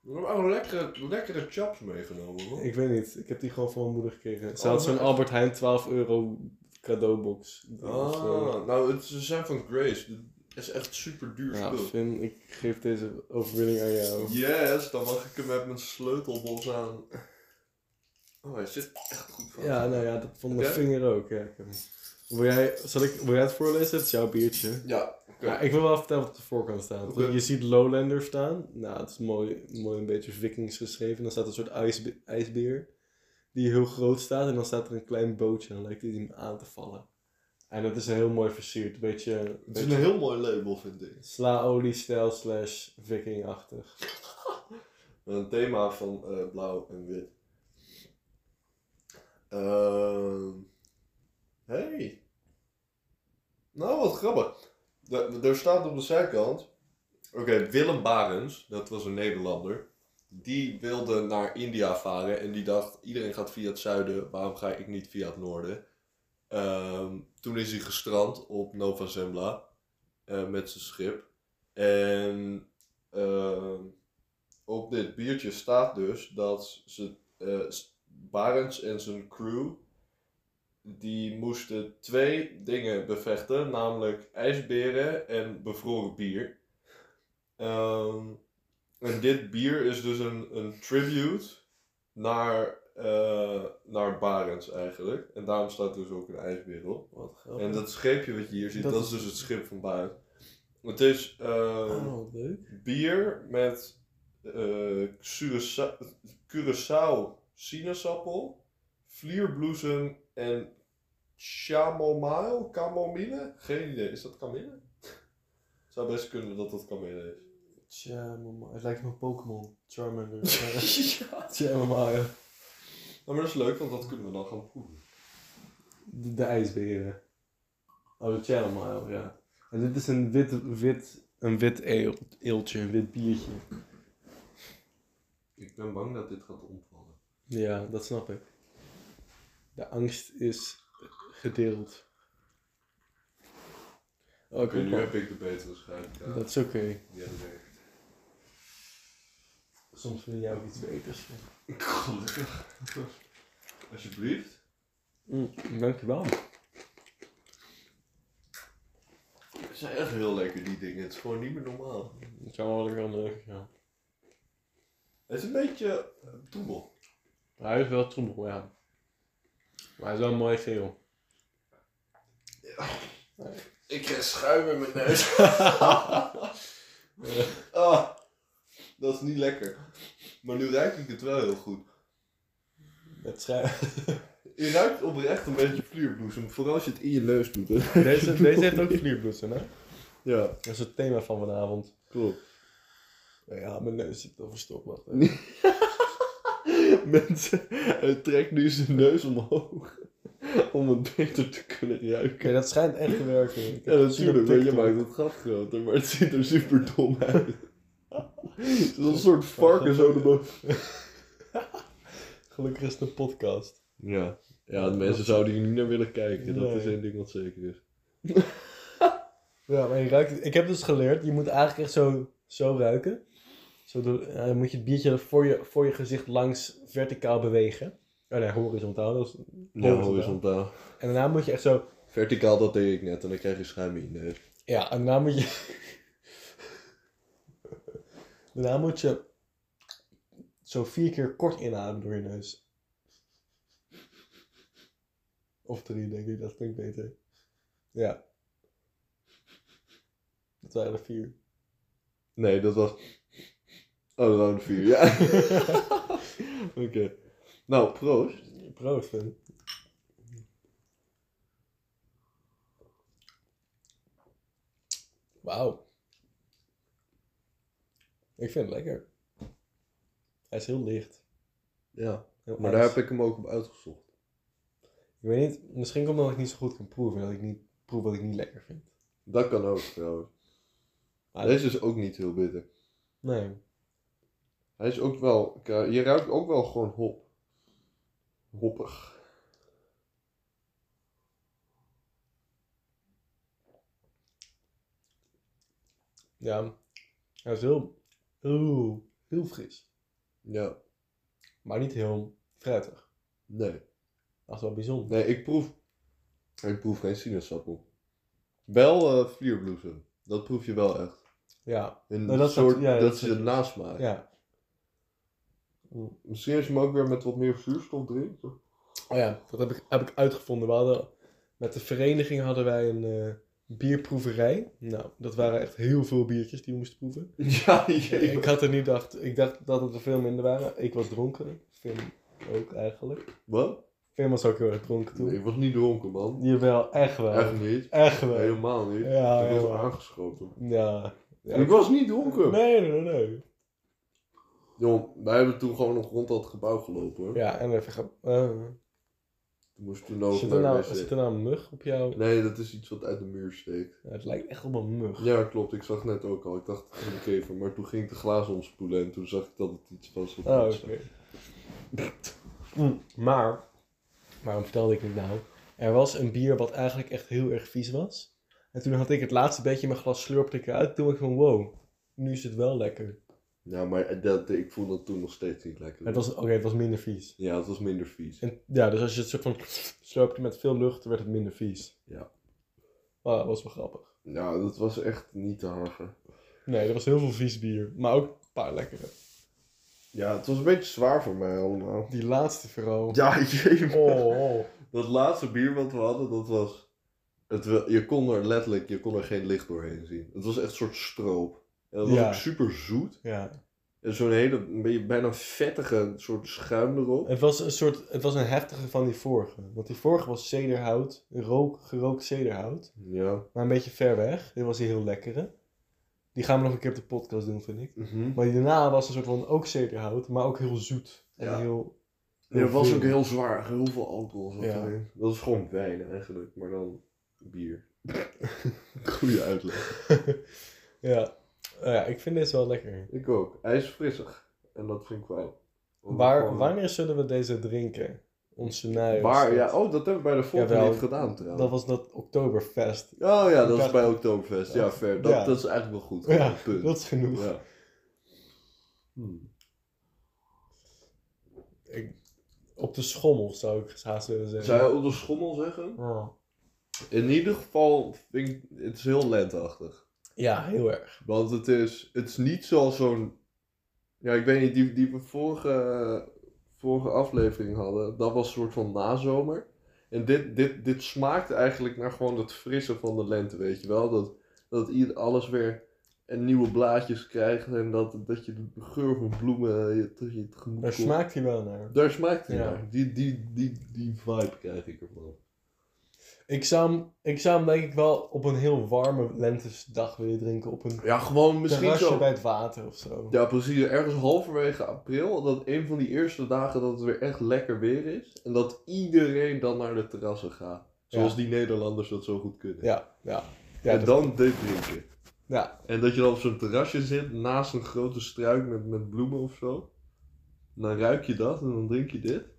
Speaker 1: We hebben ook lekkere, lekkere chaps meegenomen, hoor.
Speaker 2: Ik weet niet. Ik heb die gewoon van mijn moeder gekregen. Ze
Speaker 1: Oh,
Speaker 2: had zo'n
Speaker 1: echt?
Speaker 2: Albert Heijn 12 euro cadeaubox. Of zo.
Speaker 1: Ah, nou, het, ze zijn van Grace. Het is echt super duur
Speaker 2: Ja,
Speaker 1: spul.
Speaker 2: Finn, ik geef deze overwinning aan jou.
Speaker 1: Yes, dan mag ik hem met mijn sleutelbos aan. Oh, hij zit echt goed vast.
Speaker 2: Ja, nou ja, dat vond mijn
Speaker 1: Oké.
Speaker 2: vinger ook. Ja, ik heb hem. wil, jij, zal ik, wil jij het voorlezen? Het is jouw biertje.
Speaker 1: Ja, oké.
Speaker 2: Ja, ik wil wel vertellen wat op de voorkant staat.
Speaker 1: Oké.
Speaker 2: Je ziet Lowlander staan. Nou, het is mooi, mooi een beetje vikings geschreven. Dan staat een soort ijsbe- ijsbeer die heel groot staat. En dan staat er een klein bootje en dan lijkt hij hem aan te vallen. En dat is heel mooi versierd. Een beetje, een
Speaker 1: Het is
Speaker 2: beetje
Speaker 1: een heel mooi label, vind ik.
Speaker 2: slaolie-stijl slash vikingachtig.
Speaker 1: Met een thema van eh, blauw en wit. Ehm hey. Nou, wat grappig. Da- Er staat op de zijkant. Oké, Willem Barens, dat was een Nederlander. Die wilde naar India varen en die dacht: iedereen gaat via het zuiden, waarom ga ik niet via het noorden? Ehm, toen is hij gestrand op Nova Zembla eh, met zijn schip. En ehm, op dit biertje staat dus dat ze, eh, S- Barends en zijn crew die moesten twee dingen bevechten, namelijk ijsberen en bevroren bier. Ehm, en dit bier is dus een, een tribute naar, eh, naar Barends eigenlijk. En daarom staat dus ook een ijsbeer op.
Speaker 2: Wat grappig.
Speaker 1: En dat scheepje wat je hier ziet,
Speaker 2: Oh. Dat
Speaker 1: dat,
Speaker 2: is-
Speaker 1: is dus het schip van Barend. Het is ehm,
Speaker 2: Oh, wat leuk.
Speaker 1: bier met eh Curaça- Curaçao sinaasappel, vlierbloesem en chamomile, chamomile? Geen idee, is dat kamille? [laughs] Het zou best kunnen dat dat kamille
Speaker 2: Tja, mama. Het lijkt me een Pokémon.
Speaker 1: [laughs]
Speaker 2: Charmander. [laughs]
Speaker 1: is. ja.
Speaker 2: Tja, mama. ja.
Speaker 1: Nou, maar dat is leuk, want dat kunnen we dan gaan proeven.
Speaker 2: De, de ijsberen. Oh, de Channel Mile, ja. En dit is een wit, wit, een wit eel- eeltje, een wit biertje.
Speaker 1: Ik ben bang dat dit gaat omvallen.
Speaker 2: Ja, dat snap ik. De angst is gedeeld. Oh, ik
Speaker 1: Oké, nu
Speaker 2: hoor-
Speaker 1: heb ik de betere waarschijnlijk.
Speaker 2: Dat is oké.
Speaker 1: Ja, dat denk ik.
Speaker 2: Soms vind jij ook iets beters.
Speaker 1: [laughs] Gelukkig. Alsjeblieft.
Speaker 2: Mm, dankjewel.
Speaker 1: Ze zijn echt heel lekker, die dingen. Het is gewoon niet meer normaal.
Speaker 2: Dat kan wel lekker leuk, ja.
Speaker 1: Het is een beetje eh, troebel.
Speaker 2: Hij is wel troebel, ja. Maar hij is wel mooi geel.
Speaker 1: Ik krijg schuim in mijn neus. [laughs] ah, dat is niet lekker. Maar nu ruik ik het wel heel goed.
Speaker 2: Het schrijft.
Speaker 1: Je ruikt oprecht een beetje vlierbloesem. Vooral als je het in je neus doet. Hè?
Speaker 2: [laughs] Deze, deze heeft [laughs] ook vlierbloesem, hè?
Speaker 1: Ja,
Speaker 2: Dat is het thema van vanavond.
Speaker 1: klopt.
Speaker 2: Nou Ja, mijn neus zit al verstopt. Wacht even.
Speaker 1: [laughs] Mensen, hij trekt nu zijn neus omhoog. Om het beter te kunnen ruiken.
Speaker 2: [laughs] Oké, dat schijnt echt te werken. Ik heb
Speaker 1: Ja,
Speaker 2: het gezien op
Speaker 1: natuurlijk, want
Speaker 2: TikTok.
Speaker 1: je maakt het gat groter, maar het ziet er super dom uit. [laughs] Het is een soort varken zo erboven.
Speaker 2: Gelukkig is het een podcast.
Speaker 1: Ja. ja, de mensen zouden hier niet naar willen kijken, dat is
Speaker 2: Nee.
Speaker 1: één ding wat zeker is.
Speaker 2: Ja, maar je ruikt... Ik heb dus geleerd, je moet eigenlijk echt zo, zo ruiken. Zo door- ja, dan moet je het biertje voor je, voor je gezicht langs verticaal bewegen. Oh nee, horizontaal. Dat is...
Speaker 1: Ja,
Speaker 2: Horizontaal.
Speaker 1: Nou, horizontaal.
Speaker 2: En daarna moet je echt zo...
Speaker 1: Verticaal, dat deed ik net, en dan krijg je schuim in je neus.
Speaker 2: Ja, en daarna moet [laughs] je... daarna moet je... Zo vier keer kort inademen door je neus. Of drie, denk ik. Dat klinkt beter. Ja. Dat waren er vier.
Speaker 1: Nee, dat was. Oh, round
Speaker 2: [laughs]
Speaker 1: 4, ja. Oké. Nou, proost.
Speaker 2: Proost, Finn. Wauw. Ik vind het lekker. Hij is heel licht.
Speaker 1: Ja,
Speaker 2: Heel
Speaker 1: maar daar
Speaker 2: ijs.
Speaker 1: heb ik hem ook op uitgezocht.
Speaker 2: Ik weet niet, misschien komt omdat ik niet zo goed kan proeven. Dat ik niet proef wat ik niet lekker vind.
Speaker 1: Dat kan ook trouwens.
Speaker 2: Maar-
Speaker 1: Deze is ook niet heel bitter.
Speaker 2: Nee.
Speaker 1: Hij is ook wel. Je ruikt ook wel gewoon hop. Hoppig.
Speaker 2: Ja. Hij is heel... Oeh, heel fris.
Speaker 1: Ja,
Speaker 2: Maar niet heel fruitig.
Speaker 1: nee.
Speaker 2: Dat is wel bijzonder.
Speaker 1: Nee, ik proef. Ik proef geen sinaasappel. Wel eh vlierbloesem. Dat proef je wel echt.
Speaker 2: Ja.
Speaker 1: Een
Speaker 2: Nou, dat
Speaker 1: soort,
Speaker 2: zou- ja,
Speaker 1: dat,
Speaker 2: dat
Speaker 1: is
Speaker 2: zou-
Speaker 1: een nasmaak.
Speaker 2: Ja.
Speaker 1: Misschien als je hem ook weer met wat meer zuurstof drinkt.
Speaker 2: [laughs]
Speaker 1: of-
Speaker 2: Oh ja, dat heb ik, heb ik uitgevonden. We hadden, met de vereniging hadden wij een eh, bierproeverij. Nou, dat waren echt heel veel biertjes die we moesten proeven.
Speaker 1: Ja, jee.
Speaker 2: Ik had er niet dacht, ik dacht dat het er veel minder waren. Ik was dronken. Finn ook eigenlijk.
Speaker 1: Wat?
Speaker 2: Finn was ook heel erg dronken toen.
Speaker 1: Nee, ik was niet dronken, man.
Speaker 2: Jawel, echt wel.
Speaker 1: Echt niet.
Speaker 2: Echt wel.
Speaker 1: Helemaal niet.
Speaker 2: Ja,
Speaker 1: ik was
Speaker 2: helemaal.
Speaker 1: aangeschoten.
Speaker 2: Ja. Ja.
Speaker 1: En ik was niet dronken.
Speaker 2: Nee, nee, nee, nee.
Speaker 1: Jong, wij hebben toen gewoon nog rond dat gebouw gelopen. hoor.
Speaker 2: Ja, en even gaan... eh,
Speaker 1: Toen moesten we nog
Speaker 2: zit, er
Speaker 1: naar
Speaker 2: nou,
Speaker 1: de wc.
Speaker 2: zit er nou een mug op jou?
Speaker 1: Nee, dat is iets wat uit de muur steekt.
Speaker 2: Ja, het lijkt echt op een mug.
Speaker 1: Ja, klopt. Ik zag net ook al. Ik dacht, het is een kever. Maar toen ging ik de glazen omspoelen en toen zag ik dat het iets was. wat
Speaker 2: Oh,
Speaker 1: iets-
Speaker 2: oké. [laughs] Mm, maar, waarom vertelde ik dit nou? Er was een bier wat eigenlijk echt heel erg vies was. En toen had ik het laatste beetje in mijn glas slurpte ik eruit. Toen dacht ik van, wow, nu is het wel lekker.
Speaker 1: Ja, maar eh, dat, ik voel dat toen nog steeds niet lekker.
Speaker 2: Het was, oké, het was minder vies.
Speaker 1: Ja, het was minder vies.
Speaker 2: En, ja, dus als je het soort van [sniffs] slurpte met veel lucht, dan werd het minder vies.
Speaker 1: Ja.
Speaker 2: Ah, dat was wel grappig.
Speaker 1: Ja, Nou, dat was echt niet te hagen.
Speaker 2: Nee, er was heel veel vies bier. Maar ook een paar lekkere.
Speaker 1: Ja, het was een beetje zwaar voor mij allemaal.
Speaker 2: Die laatste vooral.
Speaker 1: Ja, [laughs] jee. man.
Speaker 2: Oh, oh.
Speaker 1: Dat laatste bier wat we hadden, dat was... Het, wa- je kon er letterlijk, je kon er geen licht doorheen zien. Het was echt een soort stroop. En dat was
Speaker 2: Ja.
Speaker 1: ook super zoet.
Speaker 2: Ja.
Speaker 1: En zo'n hele, een beetje bijna vettige soort schuim erop.
Speaker 2: Het was een soort, het was een heftige van die vorige. Want die vorige was zederhout, rook, gerookt zederhout.
Speaker 1: Ja.
Speaker 2: Maar een beetje ver weg. Dit was die heel lekkere. Die gaan we nog een keer op de podcast doen, vind ik.
Speaker 1: Mhm.
Speaker 2: Maar die daarna was een soort van ook zederhout, maar ook heel zoet. En
Speaker 1: Ja.
Speaker 2: heel...
Speaker 1: Ja, het was
Speaker 2: veel.
Speaker 1: ook heel zwaar. Heel veel alcohol zat
Speaker 2: Ja.
Speaker 1: erin. Dat is gewoon wijn eigenlijk, maar dan
Speaker 2: [laughs]
Speaker 1: bier. Goeie uitleg.
Speaker 2: ja. Nou ja, ik vind deze wel lekker.
Speaker 1: Ik ook. Hij is frissig. En dat vind ik fijn. Omdat
Speaker 2: Waar,
Speaker 1: gewoon-
Speaker 2: wanneer zullen we deze drinken? Ons scenario.
Speaker 1: Waar,
Speaker 2: staat-
Speaker 1: ja. Oh, dat hebben we bij de volgende
Speaker 2: Jawel.
Speaker 1: niet gedaan trouwens.
Speaker 2: Dat was dat Oktoberfest.
Speaker 1: Oh ja,
Speaker 2: Ik
Speaker 1: dat is
Speaker 2: dacht-
Speaker 1: bij Oktoberfest. Ja, fair. Dat,
Speaker 2: Ja.
Speaker 1: dat is eigenlijk wel goed.
Speaker 2: Ja,
Speaker 1: Punt.
Speaker 2: dat is genoeg.
Speaker 1: Ja. Hmm.
Speaker 2: Ik- op de schommel zou ik haast willen zeggen.
Speaker 1: Zou je op de schommel zeggen?
Speaker 2: Oh.
Speaker 1: In ieder geval vind ik, het is heel lenteachtig.
Speaker 2: Ja, heel erg.
Speaker 1: Want het is, het is niet zoals zo'n... Ja, ik weet niet, die, die we vorige, vorige aflevering hadden, dat was een soort van nazomer. En dit, dit, dit smaakt eigenlijk naar gewoon het frisse van de lente, weet je wel? Dat, dat ieder, alles weer en nieuwe blaadjes krijgt en dat, dat je de geur van bloemen eh, je, tot je tegemoet
Speaker 2: Daar
Speaker 1: komt.
Speaker 2: smaakt hij wel naar.
Speaker 1: Daar smaakt hij
Speaker 2: Ja.
Speaker 1: naar. Die, die, die, die vibe krijg ik ervan.
Speaker 2: Ik zou, hem, ik zou hem denk ik wel op een heel warme lentesdag willen drinken. Op een
Speaker 1: Ja, gewoon misschien
Speaker 2: terrasje
Speaker 1: zo.
Speaker 2: bij het water of zo.
Speaker 1: Ja, precies. Ergens halverwege april, dat een van die eerste dagen dat het weer echt lekker weer is. En dat iedereen dan naar de terrassen gaat. Zoals
Speaker 2: Ja.
Speaker 1: die Nederlanders dat zo goed kunnen.
Speaker 2: Ja, ja. Ja,
Speaker 1: en
Speaker 2: dat-
Speaker 1: dan dit drinken.
Speaker 2: ja,
Speaker 1: En dat je dan op zo'n terrasje zit, naast een grote struik met, met bloemen of zo. En dan ruik je dat en dan drink je dit.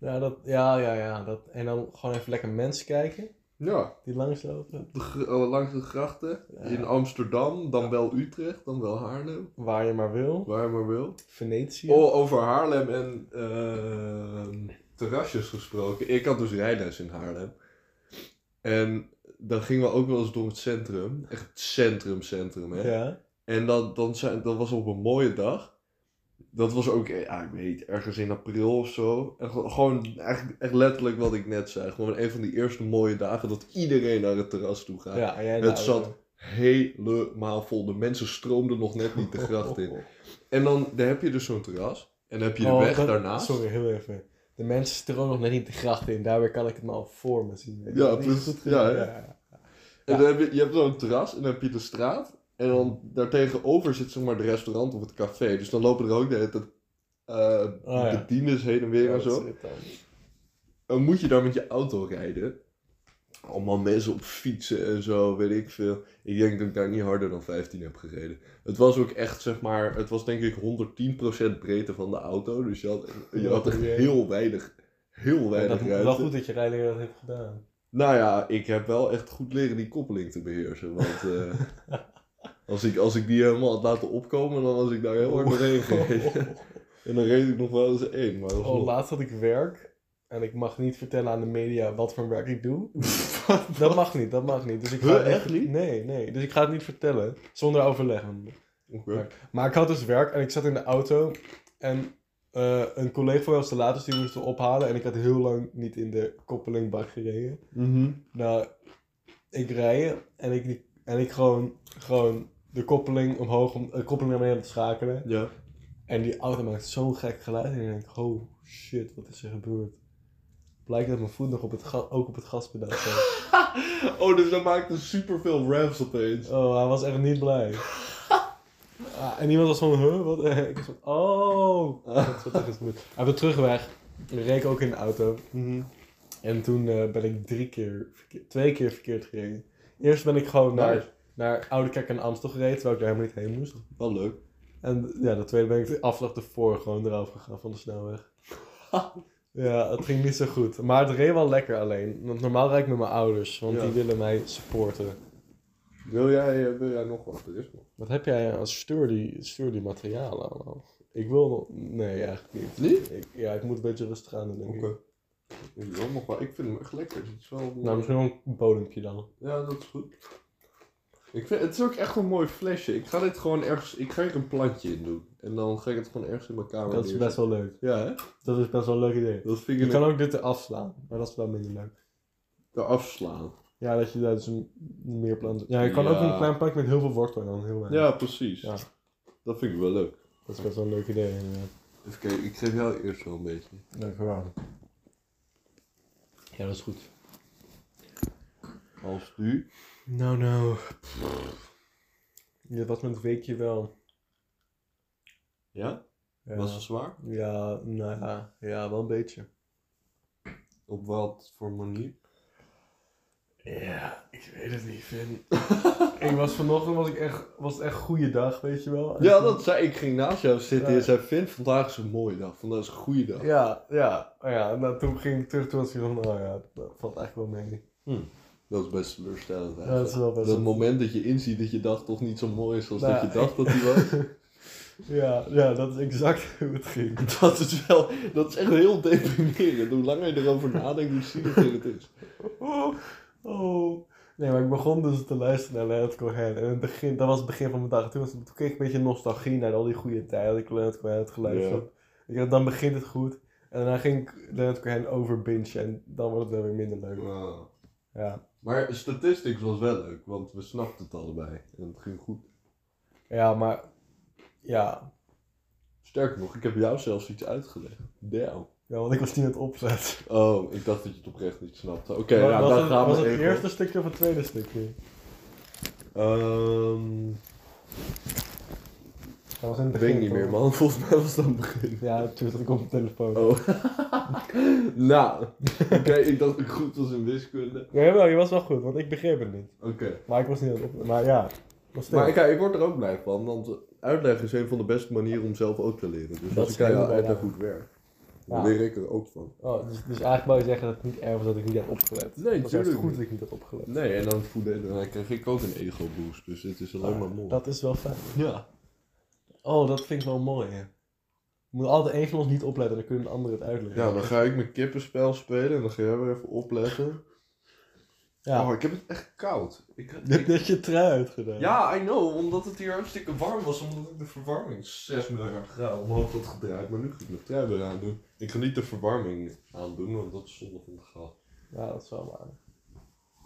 Speaker 2: ja, dat, ja, ja, ja. Dat, en dan gewoon even lekker mensen kijken
Speaker 1: Ja,
Speaker 2: die langslopen.
Speaker 1: op de, gr- eh, langs de grachten.
Speaker 2: Ja.
Speaker 1: In Amsterdam, dan wel Utrecht, dan wel Haarlem.
Speaker 2: Waar je maar wil.
Speaker 1: Waar je maar wil.
Speaker 2: Venetië.
Speaker 1: Oh, over Haarlem en ehm, terrasjes gesproken. Ik had dus rijles in Haarlem. En dan gingen we ook wel eens door het centrum. Echt het centrum, centrum, hè.
Speaker 2: ja.
Speaker 1: En dan, dan, zijn, dat was op een mooie dag. Dat was ook, eh, ja, ik weet, ergens in april of zo. En ge- gewoon eigenlijk echt letterlijk wat ik net zei. Gewoon een van die eerste mooie dagen dat iedereen naar het terras toe gaat.
Speaker 2: Ja, en jij in de
Speaker 1: het
Speaker 2: auto.
Speaker 1: zat helemaal vol. De mensen stroomden nog net niet de gracht in. En dan, dan heb je dus zo'n terras. En dan heb je de
Speaker 2: Oh,
Speaker 1: weg
Speaker 2: dat-
Speaker 1: daarnaast.
Speaker 2: Sorry, heel even. De mensen stromen nog net niet de gracht in. Daarbij kan ik het me al voor me zien. weet je.
Speaker 1: Ja,
Speaker 2: Dat is
Speaker 1: precies.
Speaker 2: goed
Speaker 1: Ja,
Speaker 2: gedaan,
Speaker 1: hè?
Speaker 2: ja.
Speaker 1: En dan heb je, je hebt zo'n terras en dan heb je de straat. En dan daartegenover zit zeg maar de restaurant of het café. Dus dan lopen er ook de hele tijd eh,
Speaker 2: Ah, ja.
Speaker 1: bedieners heen en weer
Speaker 2: Ja,
Speaker 1: en
Speaker 2: dat
Speaker 1: zo.
Speaker 2: zit dan.
Speaker 1: Dan moet je daar met je auto rijden. Allemaal mensen op fietsen en zo, weet ik veel. Ik denk dat ik daar niet harder dan 15 heb gereden. Het was ook echt, zeg maar, het was denk ik 110% breedte van de auto. Dus je had, je had echt heel weinig, heel
Speaker 2: Ja,
Speaker 1: weinig
Speaker 2: dat
Speaker 1: ruimte.
Speaker 2: wel goed dat je rijder dat heeft gedaan.
Speaker 1: Nou ja, ik heb wel echt goed leren die koppeling te beheersen. Want eh, als, ik, als ik die helemaal had laten opkomen, dan was ik daar heel hard doorheen gereden. en dan reed ik nog wel eens één. Maar dat was
Speaker 2: Oh,
Speaker 1: nog-
Speaker 2: laatst had ik werk. En ik mag niet vertellen aan de media wat voor werk ik
Speaker 1: [laughs]
Speaker 2: doe. dat mag niet, dat mag niet. Dus ik ga
Speaker 1: Huh,
Speaker 2: het
Speaker 1: echt niet?
Speaker 2: Nee, nee. Dus ik ga het niet vertellen. Zonder overleg.
Speaker 1: Oké.
Speaker 2: Maar ik had dus werk en ik zat in de auto. En eh, een collega van mij was te laat, dus die moest me ophalen. En ik had heel lang niet in de koppelingbak gereden.
Speaker 1: Mhm.
Speaker 2: Nou, ik rijden en ik, en ik gewoon, gewoon de koppeling omhoog, om, de koppeling naar beneden te schakelen.
Speaker 1: Ja.
Speaker 2: En die auto maakt zo'n gek geluid. En ik denk, oh shit, wat is er gebeurd? Blijkt dat mijn voet nog op het ga- ook op het gaspedaal staat.
Speaker 1: Oh, dus dat maakte superveel raps opeens.
Speaker 2: Oh, hij was echt niet blij. Ah, en iemand was van, huh, wat? [laughs] Ik was van, oh, dat is wat er is gebeurd. Hij werd terugweg. We reken ook in de auto. En toen eh, ben ik drie keer, verkeer- twee keer verkeerd gereden. Eerst ben ik gewoon naar,
Speaker 1: Nice.
Speaker 2: naar Oude Kerk en Amstel gereden, terwijl ik daar helemaal niet heen moest.
Speaker 1: Wel leuk.
Speaker 2: En ja, de tweede ben ik de afslag ervoor gewoon eraf gegaan van de
Speaker 1: [laughs]
Speaker 2: snelweg. ja, het ging niet zo goed. Maar het reed wel lekker alleen. Want normaal rijd ik met mijn ouders, want
Speaker 1: Ja.
Speaker 2: die willen mij supporten.
Speaker 1: Wil jij, eh, wil jij nog wat? Er is nog.
Speaker 2: Wat heb jij als stuur die, stuur die materialen allemaal? Ik wil nog... Nee, eigenlijk niet.
Speaker 1: Niet?
Speaker 2: Ik, ja, ik moet een beetje rustig aan doen, denk ik.
Speaker 1: Ik, wil nog wel. ik vind hem echt lekker. Het is wel...
Speaker 2: Nou, misschien wel een bodempje dan.
Speaker 1: Ja, dat is goed. Ik vind, het is ook echt een mooi flesje. Ik ga dit gewoon ergens... Ik ga hier een plantje in doen. En dan ga ik het gewoon ergens in mijn kamer
Speaker 2: Dat is best
Speaker 1: neerzetten.
Speaker 2: wel leuk.
Speaker 1: Ja, hè?
Speaker 2: Dat is best wel een leuk idee.
Speaker 1: Dat vind ik
Speaker 2: Je
Speaker 1: een-
Speaker 2: kan ook dit eraf slaan, maar dat is wel minder leuk.
Speaker 1: eraf slaan.
Speaker 2: Ja, dat je daar dus een meer plant... Ja, je kan ook
Speaker 1: Ja.
Speaker 2: een klein plantje met heel veel wortel en dan heel weinig.
Speaker 1: Ja, precies.
Speaker 2: Ja.
Speaker 1: Dat vind ik wel leuk.
Speaker 2: Dat is best wel een leuk idee, inderdaad.
Speaker 1: Even kijken, ik geef jou eerst wel een beetje.
Speaker 2: Dankjewel. Ja, dat is goed.
Speaker 1: Als nu.
Speaker 2: Nou, nou. Ja, was met het weekje wel.
Speaker 1: Ja?
Speaker 2: Ja.
Speaker 1: Was het zwaar?
Speaker 2: Ja, nou ja. Ja, wel een beetje.
Speaker 1: Op wat voor manier?
Speaker 2: Ja, ik weet het niet, Vin. [laughs] ik was vanochtend was ik echt, was het echt goede dag, weet je wel. En
Speaker 1: Ja,
Speaker 2: toen-
Speaker 1: dat zei ik. ging naast jou zitten
Speaker 2: Ja.
Speaker 1: en zei, Vind, vandaag is een mooie dag. Vandaag is een goede dag.
Speaker 2: Ja, ja. Oh ja, nou, toen ging ik terug, toen was ik van, oh ja, dat valt eigenlijk wel mee.
Speaker 1: Dat is best teleurstellend
Speaker 2: Ja, dat
Speaker 1: eigenlijk.
Speaker 2: is wel best
Speaker 1: dat moment dat je inziet dat je dag toch niet zo mooi is als
Speaker 2: Nou,
Speaker 1: dat je dacht dat die
Speaker 2: [laughs]
Speaker 1: was.
Speaker 2: Ja, ja, dat is exact [laughs] hoe het ging.
Speaker 1: [laughs] Dat is wel, dat is echt heel deprimerend. Hoe langer je erover nadenkt, hoe zieliger het is.
Speaker 2: Oh, oh. Nee, maar ik begon dus te luisteren naar Leonard Cohen. En in het begin, dat was het begin van mijn dag. Toen, was, toen kreeg ik een beetje nostalgie naar al die goede tijden. dat Ik Leonard Cohen had geluisterd. Ik dacht, dan begint het goed. En daarna ging ik Leonard Cohen overbingen. En dan wordt het wel weer minder leuk. Ja,
Speaker 1: Maar statistics was wel leuk, want we snapten het allebei. En het ging goed.
Speaker 2: ja maar... Ja.
Speaker 1: Sterker nog, ik heb jou zelfs iets uitgelegd. Damn.
Speaker 2: ja, want ik was niet aan het opzetten.
Speaker 1: Oh, ik dacht dat je het oprecht niet snapte. Oké,
Speaker 2: Was-
Speaker 1: nou,
Speaker 2: was
Speaker 1: daar
Speaker 2: het,
Speaker 1: gaan
Speaker 2: was
Speaker 1: we
Speaker 2: het
Speaker 1: even.
Speaker 2: eerste stukje of het tweede stukje?
Speaker 1: Ehm,
Speaker 2: Dat was in het
Speaker 1: ik
Speaker 2: begin.
Speaker 1: weet niet
Speaker 2: toch?
Speaker 1: meer, man. [laughs] Volgens mij was dat het begin.
Speaker 2: Ja, natuurlijk dat ik op mijn telefoon.
Speaker 1: Oh. nou, [laughs] oké, ik dacht ik goed was in wiskunde.
Speaker 2: Nee, wel, je was wel goed, want ik begreep het niet.
Speaker 1: Oké.
Speaker 2: Maar ik was niet aan het opzetten. Maar ja, nog steeds.
Speaker 1: Maar ik, ik word er ook blij van, want uitleggen is een van de beste manieren om zelf ook te leren. Dus
Speaker 2: Dat
Speaker 1: als ik
Speaker 2: is
Speaker 1: aan jou
Speaker 2: helemaal
Speaker 1: uitleg
Speaker 2: waar.
Speaker 1: hoe het werkt, dan
Speaker 2: Ja.
Speaker 1: leer ik er ook van.
Speaker 2: Oh, dus, dus eigenlijk wou je zeggen dat het niet erg was dat ik niet had opgelet.
Speaker 1: Nee,
Speaker 2: Het was juist
Speaker 1: tuurlijk
Speaker 2: goed
Speaker 1: niet.
Speaker 2: dat ik niet had opgelet.
Speaker 1: Nee, en dan voelde en dan kreeg ik ook een ego-boost, dus het is alleen maar mooi.
Speaker 2: Dat is wel fijn.
Speaker 1: Ja.
Speaker 2: Oh, dat vind ik wel mooi, hè. Je moet altijd één van ons niet opletten, dan kunnen de anderen het uitleggen.
Speaker 1: Ja, dan ga ik mijn kippenspel spelen en dan ga jij weer even opletten.
Speaker 2: Ja. [laughs]
Speaker 1: Oh, ik heb het echt koud. Ik,
Speaker 2: Je hebt
Speaker 1: ik-
Speaker 2: net je trui uitgedaan.
Speaker 1: ja, I know, omdat het hier hartstikke warm was, omdat ik de verwarming 6 miljard graden omhoog had gedraaid. Maar nu ga ik mijn trui weer aandoen. Ik ga niet de verwarming aandoen, want dat is zonde van het gat.
Speaker 2: Ja, dat is wel waar.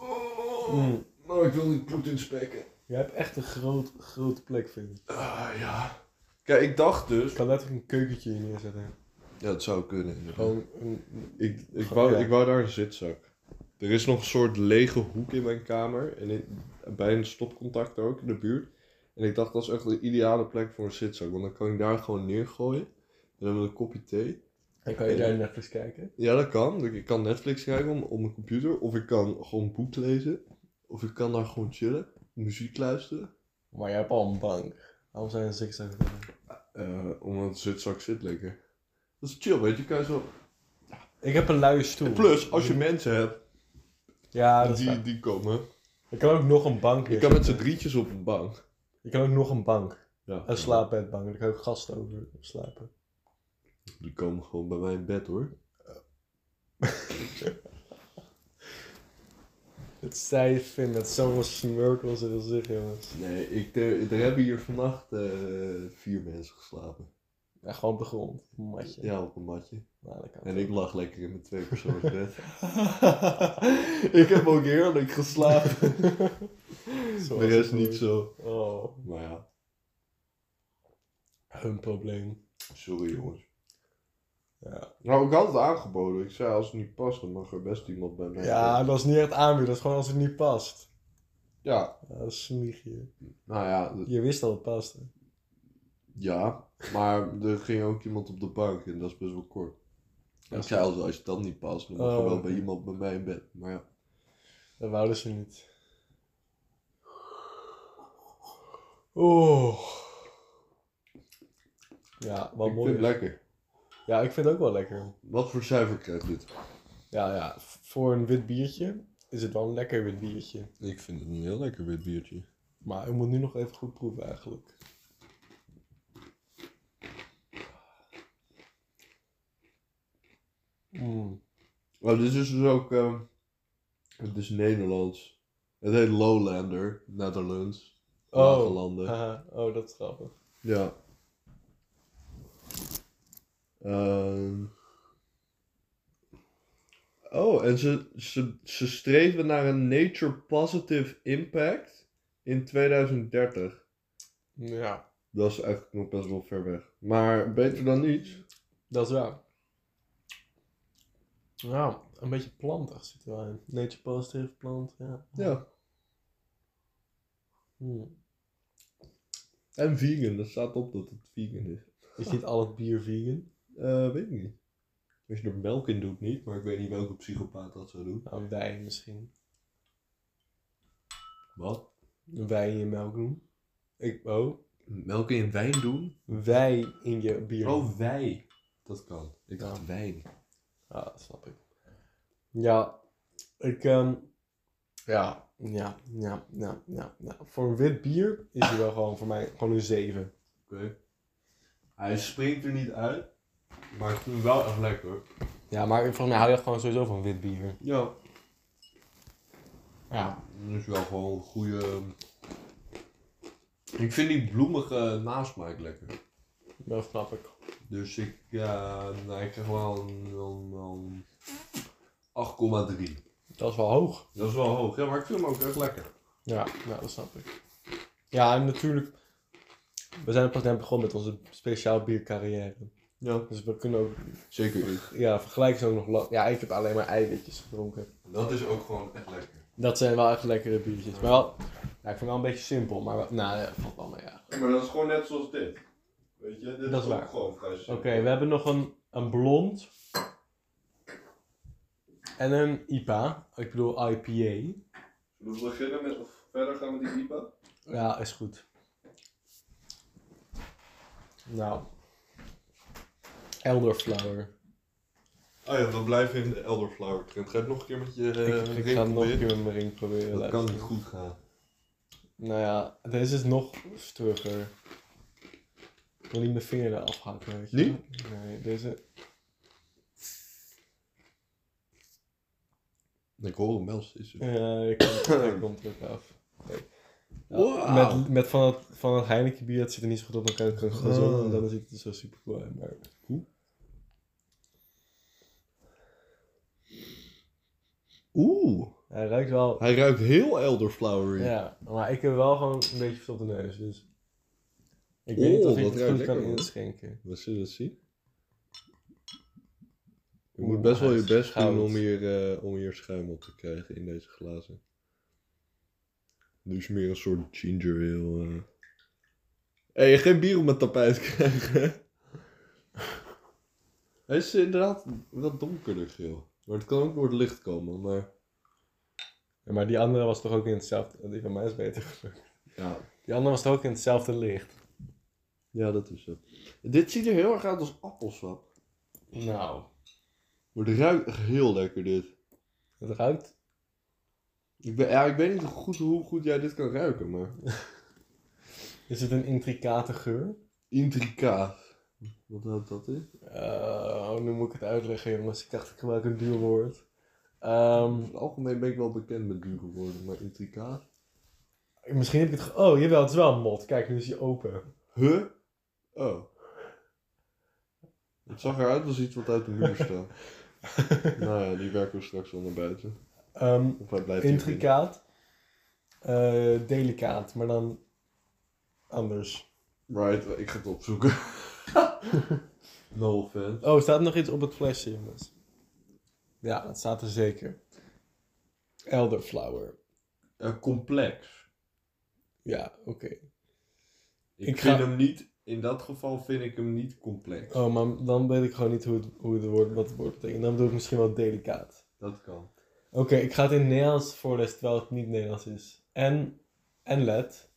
Speaker 1: Oh,
Speaker 2: Mm.
Speaker 1: nou, ik wil niet bloed inspekken.
Speaker 2: Jij hebt echt een groot, grote plek, vind ik.
Speaker 1: Ah, ja. Kijk, ik dacht dus...
Speaker 2: Ik kan letterlijk een keukentje hier neerzetten.
Speaker 1: Ja, dat zou kunnen. inderdaad.
Speaker 2: Gewoon een...
Speaker 1: Ik, ik,
Speaker 2: Ge-
Speaker 1: wou,
Speaker 2: ja.
Speaker 1: ik wou daar een zitzak. Er is nog een soort lege hoek in mijn kamer. En in- bij een stopcontact ook in de buurt. En ik dacht, dat is echt de ideale plek voor een zitzak. Want dan kan ik daar gewoon neergooien. En dan met een kopje thee.
Speaker 2: En kan je daar Netflix kijken?
Speaker 1: Ja, dat kan. Ik kan Netflix kijken op, op mijn computer. Of ik kan gewoon een boek lezen. Of ik kan daar gewoon chillen. Muziek luisteren.
Speaker 2: Maar jij hebt al een bank. Waarom zijn er een zigzag voor?
Speaker 1: Eh, omdat een zitzak zit lekker. Dat is chill, weet je. Kan je zo...
Speaker 2: Ik heb een luie stoel.
Speaker 1: En plus, als je mensen hebt
Speaker 2: Ja, dat is
Speaker 1: die,
Speaker 2: waar.
Speaker 1: die komen.
Speaker 2: Ik kan ook nog een bank
Speaker 1: Je kan met z'n
Speaker 2: neerzetten.
Speaker 1: drietjes op een bank.
Speaker 2: Je kan ook nog een bank.
Speaker 1: Ja.
Speaker 2: Een slaapbedbank. Daar kan ook gasten over slapen.
Speaker 1: Die komen gewoon bij mij in bed hoor.
Speaker 2: Het zij vindt met zoveel smirkels in zijn gezicht, jongens.
Speaker 1: Nee, ik, eh, er, er hebben hier vannacht eh, vier mensen geslapen.
Speaker 2: Ja, gewoon op de grond. Op een matje.
Speaker 1: Ja, op een matje.
Speaker 2: Nou, dat kan.
Speaker 1: En ik lag lekker in mijn twee bed. ik heb ook heerlijk geslapen.
Speaker 2: [laughs]
Speaker 1: [laughs]
Speaker 2: Zoals
Speaker 1: De rest
Speaker 2: het
Speaker 1: niet zo.
Speaker 2: hoort. Oh,
Speaker 1: Maar ja,
Speaker 2: hun probleem.
Speaker 1: sorry jongens.
Speaker 2: Ja.
Speaker 1: Nou, ik had het aangeboden. Ik zei als het niet past, dan mag er best iemand bij mij.
Speaker 2: Ja, dat is niet echt aanbieden. Dat is gewoon als het niet past.
Speaker 1: Ja,
Speaker 2: Ja, dat is smieg je.
Speaker 1: nou ja, d-
Speaker 2: Je wist dat het paste.
Speaker 1: ja. Maar er ging ook iemand op de bank en dat is best wel kort. Ik zei als, als het dan niet past, dan mag je
Speaker 2: Oh,
Speaker 1: wel
Speaker 2: oké.
Speaker 1: bij iemand bij mij in bed. Maar ja.
Speaker 2: Dat wouden ze niet. Oeh. Oh. Ja, wat
Speaker 1: ik vind
Speaker 2: mooi.
Speaker 1: het lekker.
Speaker 2: ja, ik vind het ook wel lekker.
Speaker 1: Wat voor cijfer krijgt dit?
Speaker 2: Ja, ja. v- Voor een wit biertje is het wel een lekker wit biertje.
Speaker 1: Ik vind het een heel lekker wit biertje.
Speaker 2: Maar ik moet nu nog even goed proeven eigenlijk. Mm.
Speaker 1: Oh, dit is dus ook... ehm, het is Nederlands. Het heet Lowlander, Netherlands. Lage landen.
Speaker 2: haha, oh, dat is grappig.
Speaker 1: Ja. Ehm. Oh, en ze, ze, ze streven naar een nature positive impact in 2030.
Speaker 2: Ja,
Speaker 1: Dat is eigenlijk nog best wel ver weg. Maar beter dan niets.
Speaker 2: dat is waar. Ja, een beetje plantig zit er wel in. Nature positive plant, ja.
Speaker 1: Ja.
Speaker 2: Mm.
Speaker 1: En vegan, dat staat op dat het vegan is.
Speaker 2: Is niet al het bier vegan?
Speaker 1: Eh, weet ik niet. Als je er melk in doet, niet, maar ik weet niet welke psychopaat dat zou doen.
Speaker 2: Nou, wijn misschien.
Speaker 1: Wat?
Speaker 2: Wijn in je melk doen. Ik, oh.
Speaker 1: Melk in wijn doen?
Speaker 2: Wij in je bier.
Speaker 1: Oh, wij. Dat kan. Ik
Speaker 2: Ja.
Speaker 1: dacht wijn.
Speaker 2: Ja, dat snap ik. Ja, ik, ehm, ja, ja, ja, ja, ja, ja. Voor een wit bier is hij wel gewoon voor mij gewoon een 7.
Speaker 1: Oké. Hij springt er niet uit, maar ik vind hem wel echt lekker. hoor.
Speaker 2: Ja, maar volgens mij hou je gewoon sowieso van wit bier.
Speaker 1: Ja.
Speaker 2: Ja.
Speaker 1: Dat is wel gewoon een goede... Ik vind die bloemige nasmaak lekker.
Speaker 2: Dat snap ik.
Speaker 1: Dus ik, ja, nou, ik krijg wel een, een- een 8,3.
Speaker 2: Dat is wel hoog.
Speaker 1: Dat is wel hoog, ja, maar ik vind hem ook echt lekker.
Speaker 2: Ja, ja, dat snap ik. Ja, en natuurlijk, we zijn pas net begonnen met onze speciaal biercarrière.
Speaker 1: Ja.
Speaker 2: Dus we kunnen ook,
Speaker 1: Zeker niet.
Speaker 2: ja, vergelijken ze ook nog lang. Ja, ik heb alleen maar eiwitjes gedronken.
Speaker 1: Dat is ook gewoon echt lekker.
Speaker 2: Dat zijn wel echt lekkere biertjes. Maar wel, ja, ik vind het wel een beetje simpel, maar wel- nou, dat valt wel mee, ja.
Speaker 1: maar dat is gewoon net zoals dit. Weet je, dit
Speaker 2: Dat is
Speaker 1: is ook
Speaker 2: waar.
Speaker 1: gewoon vrij simpel.
Speaker 2: Oké, we hebben nog een, een blond. En een IPA. Ik bedoel IPA.
Speaker 1: Zullen we beginnen met, of verder gaan met die IPA?
Speaker 2: Ja, is goed. Nou. Elderflower.
Speaker 1: Oh ja, we blijven in de elderflower trend. Ga je het nog een keer met je
Speaker 2: ik
Speaker 1: eh,
Speaker 2: ik
Speaker 1: ring
Speaker 2: ga het nog een
Speaker 1: proberen?
Speaker 2: keer met mijn ring proberen.
Speaker 1: Dat kan
Speaker 2: luisteren.
Speaker 1: niet goed gaan.
Speaker 2: Nou ja, deze is nog sturger. Ik wil niet mijn vinger eraf hakken, weet je.
Speaker 1: Niet?
Speaker 2: Nee, deze...
Speaker 1: Ik hoor hem wel steeds.
Speaker 2: Ja, Dus, eh, [laughs] ik kom, ik kom terug af. Kijk. Ja,
Speaker 1: Wow.
Speaker 2: Met, met van het, van het Heineken bier, het zit er niet zo goed op elkaar. Het kan gewoon zo, en dan ziet het er zo super cool uit. Maar
Speaker 1: Oeh,
Speaker 2: hij ruikt wel.
Speaker 1: hij ruikt heel elderflowery.
Speaker 2: Ja, maar ik heb wel gewoon een beetje op de neus. Dus ik
Speaker 1: Oh,
Speaker 2: weet niet of ik
Speaker 1: dat
Speaker 2: het
Speaker 1: ruikt
Speaker 2: goed kan
Speaker 1: lekker, man.
Speaker 2: inschenken.
Speaker 1: We zullen het zien. Je
Speaker 2: Oeh,
Speaker 1: moet best wel
Speaker 2: hij
Speaker 1: je
Speaker 2: is
Speaker 1: best
Speaker 2: goud.
Speaker 1: doen om hier, eh, om hier schuim op te krijgen in deze glazen. Nu is meer een soort ginger ale. eh. hey, geen bier op mijn tapijt krijgen. [laughs] Hij is inderdaad wat donkerder geel. Maar het kan ook door het licht komen. Maar
Speaker 2: Ja, maar die andere was toch ook in hetzelfde. Die van mij is beter gelukt.
Speaker 1: ja,
Speaker 2: Die andere was toch ook in hetzelfde licht.
Speaker 1: ja dat is zo. Dit ziet er heel erg uit als appelsap.
Speaker 2: Nou,
Speaker 1: Maar het ruikt echt heel lekker dit.
Speaker 2: het ruikt.
Speaker 1: Ik, ben, ja, ik weet niet goed hoe goed jij dit kan ruiken, maar...
Speaker 2: Is het een intricate geur?
Speaker 1: Intricaat. Wat houdt dat in?
Speaker 2: Eh, oh, nu moet ik het uitleggen, jongens. Ik dacht, ik gebruik een duur woord. Ehm,
Speaker 1: Over het algemeen ben ik wel bekend met dure woorden, maar intricaat...
Speaker 2: misschien heb ik het. ge- Oh, jawel, het is wel een mot. Kijk, nu is hij open.
Speaker 1: Huh? Oh. Het zag eruit als iets wat uit de muur
Speaker 2: [laughs]
Speaker 1: staat. nou ja, die werken we straks wel naar buiten.
Speaker 2: Ehm,
Speaker 1: Of hij blijft hier binnen.
Speaker 2: intricaat. Eh, delicaat, maar dan anders.
Speaker 1: Right, ik ga het
Speaker 2: [laughs]
Speaker 1: opzoeken. no offense.
Speaker 2: Oh, staat er nog iets op het flesje, jongens? Ja, dat staat er zeker. Elderflower.
Speaker 1: Eh, complex.
Speaker 2: Ja, oké.
Speaker 1: Ik,
Speaker 2: Ik ga-
Speaker 1: vind hem niet... In dat geval vind ik hem niet complex.
Speaker 2: Oh, maar dan weet ik gewoon niet hoe het, hoe het woord, wat het woord betekent. Dan bedoel ik misschien wel delicaat.
Speaker 1: Dat kan.
Speaker 2: Oké, ik ga het in het Nederlands voorlezen terwijl het niet Nederlands is. En, en let.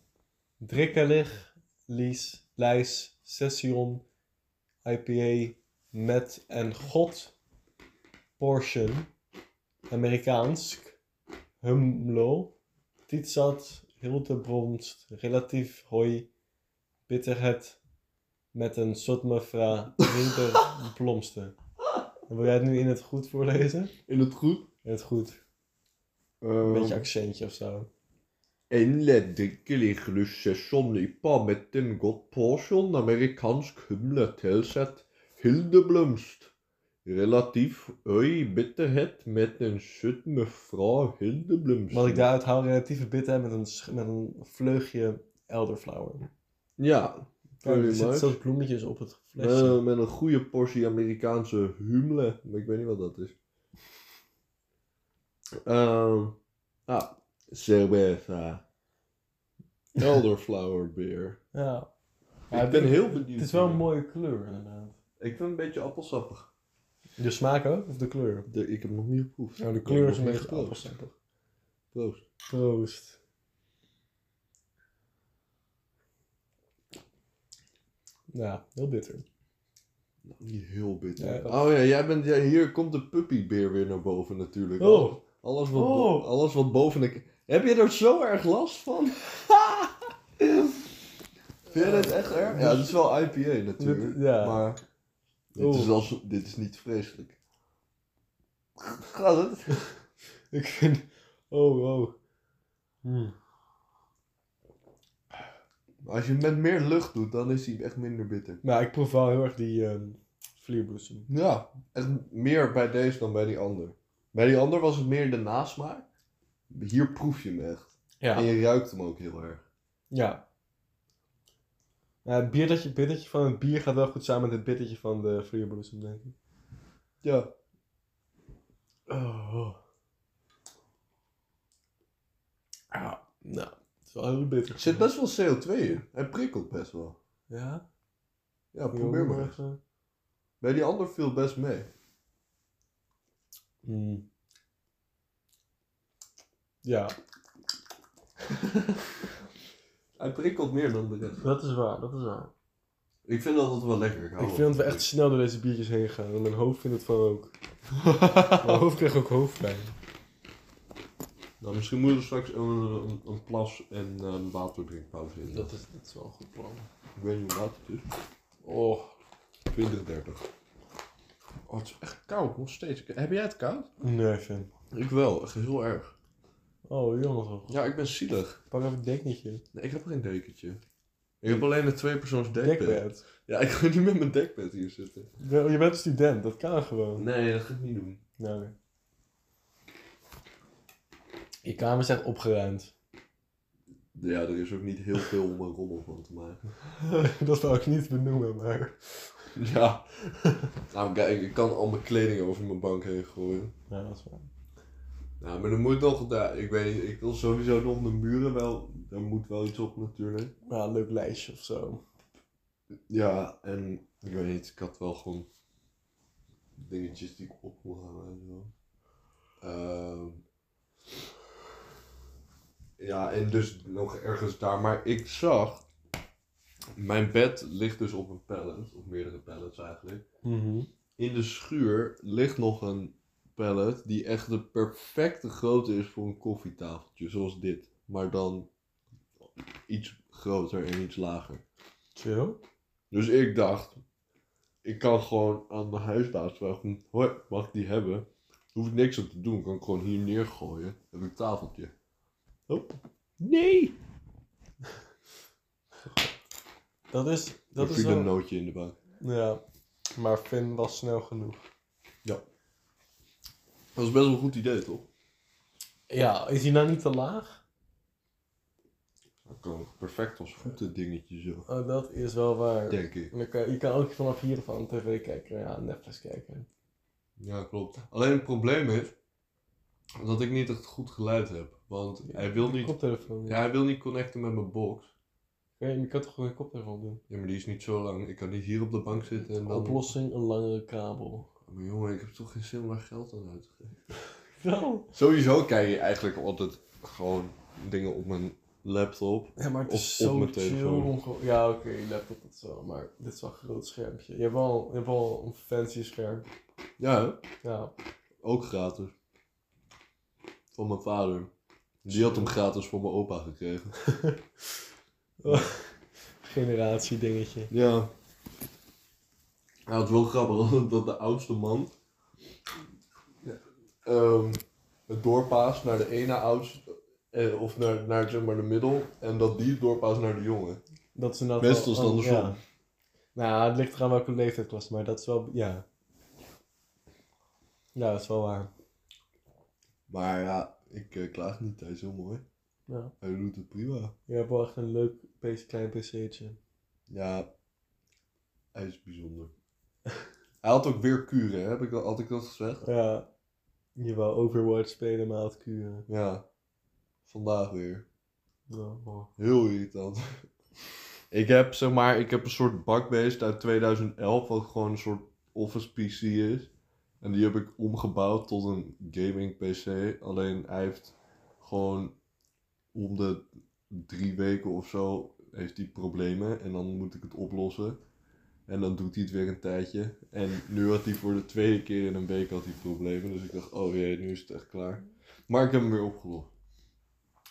Speaker 2: Drikkelig, Lies, Lijs, Session, IPA, Met en God, Portion, Amerikaans, Humlo, Tietzat, Hildebromst, Relatief, Hoi, Bitterhet, Met een Sotmefra, Winterblomste. Wil jij het nu in het goed voorlezen?
Speaker 1: In het goed? Eh,
Speaker 2: In het goed. Een beetje accentje of zo.
Speaker 1: Innledningen russer sonnypa met en godt porsjon amerikansk humle tilsett hyldeblomst. Relativ høy bitterhet med en sødme fra hyldeblomsten.
Speaker 2: Wat ik daaruit haal, relatieve bitter met een, sch- met een vleugje elderflower.
Speaker 1: Ja,
Speaker 2: Oh, er
Speaker 1: pretty
Speaker 2: zitten
Speaker 1: much.
Speaker 2: zelfs bloemetjes op het flesje.
Speaker 1: Met, met een goede portie Amerikaanse humle. Maar ik weet niet wat dat is. Ehm ah, cerveza. Elderflower beer.
Speaker 2: ja. Ja,
Speaker 1: ik ben
Speaker 2: het-
Speaker 1: heel benieuwd.
Speaker 2: Het is wel een
Speaker 1: hier.
Speaker 2: mooie kleur, inderdaad.
Speaker 1: Ik vind het een beetje appelsappig.
Speaker 2: De smaak ook, of de kleur?
Speaker 1: De- ik heb nog niet geproefd.
Speaker 2: Nou, de
Speaker 1: Ik
Speaker 2: kleur
Speaker 1: heb
Speaker 2: is een
Speaker 1: nog
Speaker 2: beetje
Speaker 1: niet geproefd.
Speaker 2: appelsappig.
Speaker 1: Proost.
Speaker 2: Proost. Ja, heel bitter. [laughs]
Speaker 1: Nou, Niet heel bitter.
Speaker 2: Ja, dat-
Speaker 1: oh ja, jij bent, ja, hier komt de puppybeer weer naar boven natuurlijk.
Speaker 2: Oh,
Speaker 1: Alles wat,
Speaker 2: Oh.
Speaker 1: bo- alles wat boven de... Heb je er zo erg last van?
Speaker 2: [laughs]
Speaker 1: Vind je dit echt erg? Ja, het is wel IPA natuurlijk.
Speaker 2: Dit- ja.
Speaker 1: Maar dit,
Speaker 2: Oeh.
Speaker 1: is als, dit is niet vreselijk. Gaat het?
Speaker 2: ik vind... Oh, oh. Hmm.
Speaker 1: Als je hem met meer lucht doet, dan is hij echt minder bitter.
Speaker 2: Maar ik proef wel heel erg die ehm vlierbloesem.
Speaker 1: Ja, echt meer bij deze dan bij die ander. Bij die ander was het meer de nasmaak. Hier proef je hem echt. En
Speaker 2: Ja.
Speaker 1: je ruikt hem ook heel erg.
Speaker 2: Ja. Nou, het bittertje, bittertje van het bier gaat wel goed samen met het bittertje van de vlierbloesem, denk ik.
Speaker 1: Ja.
Speaker 2: Oh. Ah, nou, het is wel heel bitter.
Speaker 1: Er zit best wel CO2 in. Hij prikkelt best wel.
Speaker 2: Ja?
Speaker 1: Ja, probeer maar eens.
Speaker 2: even.
Speaker 1: Bij die ander viel best mee.
Speaker 2: Hmm. Ja,
Speaker 1: Hij prikkelt meer dan de rest.
Speaker 2: dat is waar, dat is waar.
Speaker 1: Ik vind dat het wel lekker hou
Speaker 2: Ik
Speaker 1: wel
Speaker 2: vind dat we
Speaker 1: van
Speaker 2: echt snel door deze biertjes heen gaan. En mijn hoofd vindt het van [laughs] ook. Mijn hoofd krijgt ook hoofdpijn.
Speaker 1: dit. Nou, misschien moeten we straks een, een, een plas en eh, een waterdrinkpauze in.
Speaker 2: Dat is, dat is wel een goed plan.
Speaker 1: Ik weet niet hoe laat het is.
Speaker 2: Oh,
Speaker 1: 20, 30. Oh, het is echt koud, nog steeds. Heb jij het koud?
Speaker 2: Nee, Finn.
Speaker 1: Ik wel, echt heel erg.
Speaker 2: Oh, jongens.
Speaker 1: Ja, ik ben zielig.
Speaker 2: Pak even een dekentje.
Speaker 1: Nee, ik heb geen dekentje. Ik heb alleen een tweepersoons dekbed.
Speaker 2: Dekbed.
Speaker 1: Ja, ik wil niet met mijn dekbed hier zitten.
Speaker 2: Je bent- Je bent student, dat kan gewoon.
Speaker 1: Nee, dat ga ik niet doen.
Speaker 2: Nou. Je kamer is echt opgeruimd.
Speaker 1: Ja, er is ook niet heel veel om een rommel van te [laughs] maken.
Speaker 2: [laughs] dat zou ik niet benoemen, maar...
Speaker 1: Ja. Nou, kijk, ik kan al mijn kleding over mijn bank heen gooien.
Speaker 2: Ja, dat is waar.
Speaker 1: Nou, maar er moet nog, daar ik weet niet, ik wil sowieso nog de muren wel, daar moet wel iets op natuurlijk.
Speaker 2: Ja, een leuk lijstje of zo.
Speaker 1: Ja, en ik weet niet, ik had wel gewoon dingetjes die ik op wil halen en zo. Ehm, ja, en dus nog ergens daar. Maar ik zag, mijn bed ligt dus op een pallet, of meerdere pallets eigenlijk.
Speaker 2: Mhm.
Speaker 1: In de schuur ligt nog een pallet die echt de perfecte grootte is voor een koffietafeltje, zoals dit. Maar dan iets groter en iets lager.
Speaker 2: Chill.
Speaker 1: Dus ik dacht, ik kan gewoon aan mijn huisbaas vragen, hoi, mag ik die hebben? Daar hoef ik niks aan te doen, kan ik gewoon hier neergooien. Heb ik een tafeltje. Hop. Nee!
Speaker 2: Dat is...
Speaker 1: Dat
Speaker 2: Dat
Speaker 1: Dan
Speaker 2: is
Speaker 1: viel een
Speaker 2: wel...
Speaker 1: nootje in de bak.
Speaker 2: Ja. Maar Finn was snel genoeg.
Speaker 1: Dat was best wel een goed idee, toch?
Speaker 2: Ja, is hij nou niet te laag?
Speaker 1: Dat kan perfect als voetendingetje zo,
Speaker 2: Oh, dat is wel waar.
Speaker 1: denk ik.
Speaker 2: En dan kan- je kan ook vanaf hier van een tv kijken. Ja, Netflix kijken.
Speaker 1: Ja, klopt. Alleen het probleem is dat ik niet echt goed geluid heb. Want
Speaker 2: Ja,
Speaker 1: hij wil niet,
Speaker 2: Koptelefoon.
Speaker 1: ja, hij wil niet connecten met mijn box.
Speaker 2: Oké, Je kan toch gewoon een koptelefoon doen?
Speaker 1: Ja, maar die is niet zo lang. Ik kan niet hier op de bank zitten en dan...
Speaker 2: Oplossing, een langere kabel.
Speaker 1: Maar jongen, ik heb toch geen zin om daar geld aan uit te geven.
Speaker 2: Zo.
Speaker 1: Sowieso kijk je eigenlijk altijd gewoon dingen op mijn laptop.
Speaker 2: Ja, maar het
Speaker 1: Of
Speaker 2: is
Speaker 1: op
Speaker 2: zo
Speaker 1: mijn
Speaker 2: chill.
Speaker 1: telefoon.
Speaker 2: om gewoon- Ja, oké, laptop dat zo, maar dit is wel een groot schermpje. Je hebt wel, je hebt wel een fancy scherm.
Speaker 1: Ja,
Speaker 2: Ja,
Speaker 1: ook gratis. Van mijn vader. Die had hem gratis voor mijn opa gekregen.
Speaker 2: generatie dingetje.
Speaker 1: Ja. Ja, het is wel grappig [laughs] dat de oudste man ehm, het doorpaast naar de ene oudste, eh, of naar, naar zeg maar de middel, en dat die het doorpaast naar de jongen.
Speaker 2: Dat is inderdaad
Speaker 1: Meestal is het
Speaker 2: wel- oh,
Speaker 1: andersom.
Speaker 2: ja. Nou, het ligt eraan welke leeftijdsklasse, maar dat is wel, ja. Ja, dat is wel waar.
Speaker 1: Maar ja, ik eh, klaag niet, hij is heel mooi.
Speaker 2: Ja.
Speaker 1: Hij doet het prima.
Speaker 2: Je hebt wel echt een leuk PC, klein PC'tje.
Speaker 1: Ja, hij is bijzonder. [laughs] hij had ook weer kuren, hè? Heb ik, dat- had ik dat gezegd?
Speaker 2: Ja, je wou Overwatch spelen, maar had kuren.
Speaker 1: Ja, vandaag weer.
Speaker 2: Ja, oh.
Speaker 1: Heel irritant. [laughs] Ik heb zeg maar, ik heb een soort bakbeest uit 2011, wat gewoon een soort office PC is. En die heb ik omgebouwd tot een gaming PC. Alleen hij heeft gewoon om de drie weken of zo heeft hij problemen. En dan moet ik het oplossen. En dan doet hij het weer een tijdje. En nu had hij voor de tweede keer in een week had hij problemen. Dus ik dacht, oh jee, nu is het echt klaar. Maar ik heb hem weer opgelost.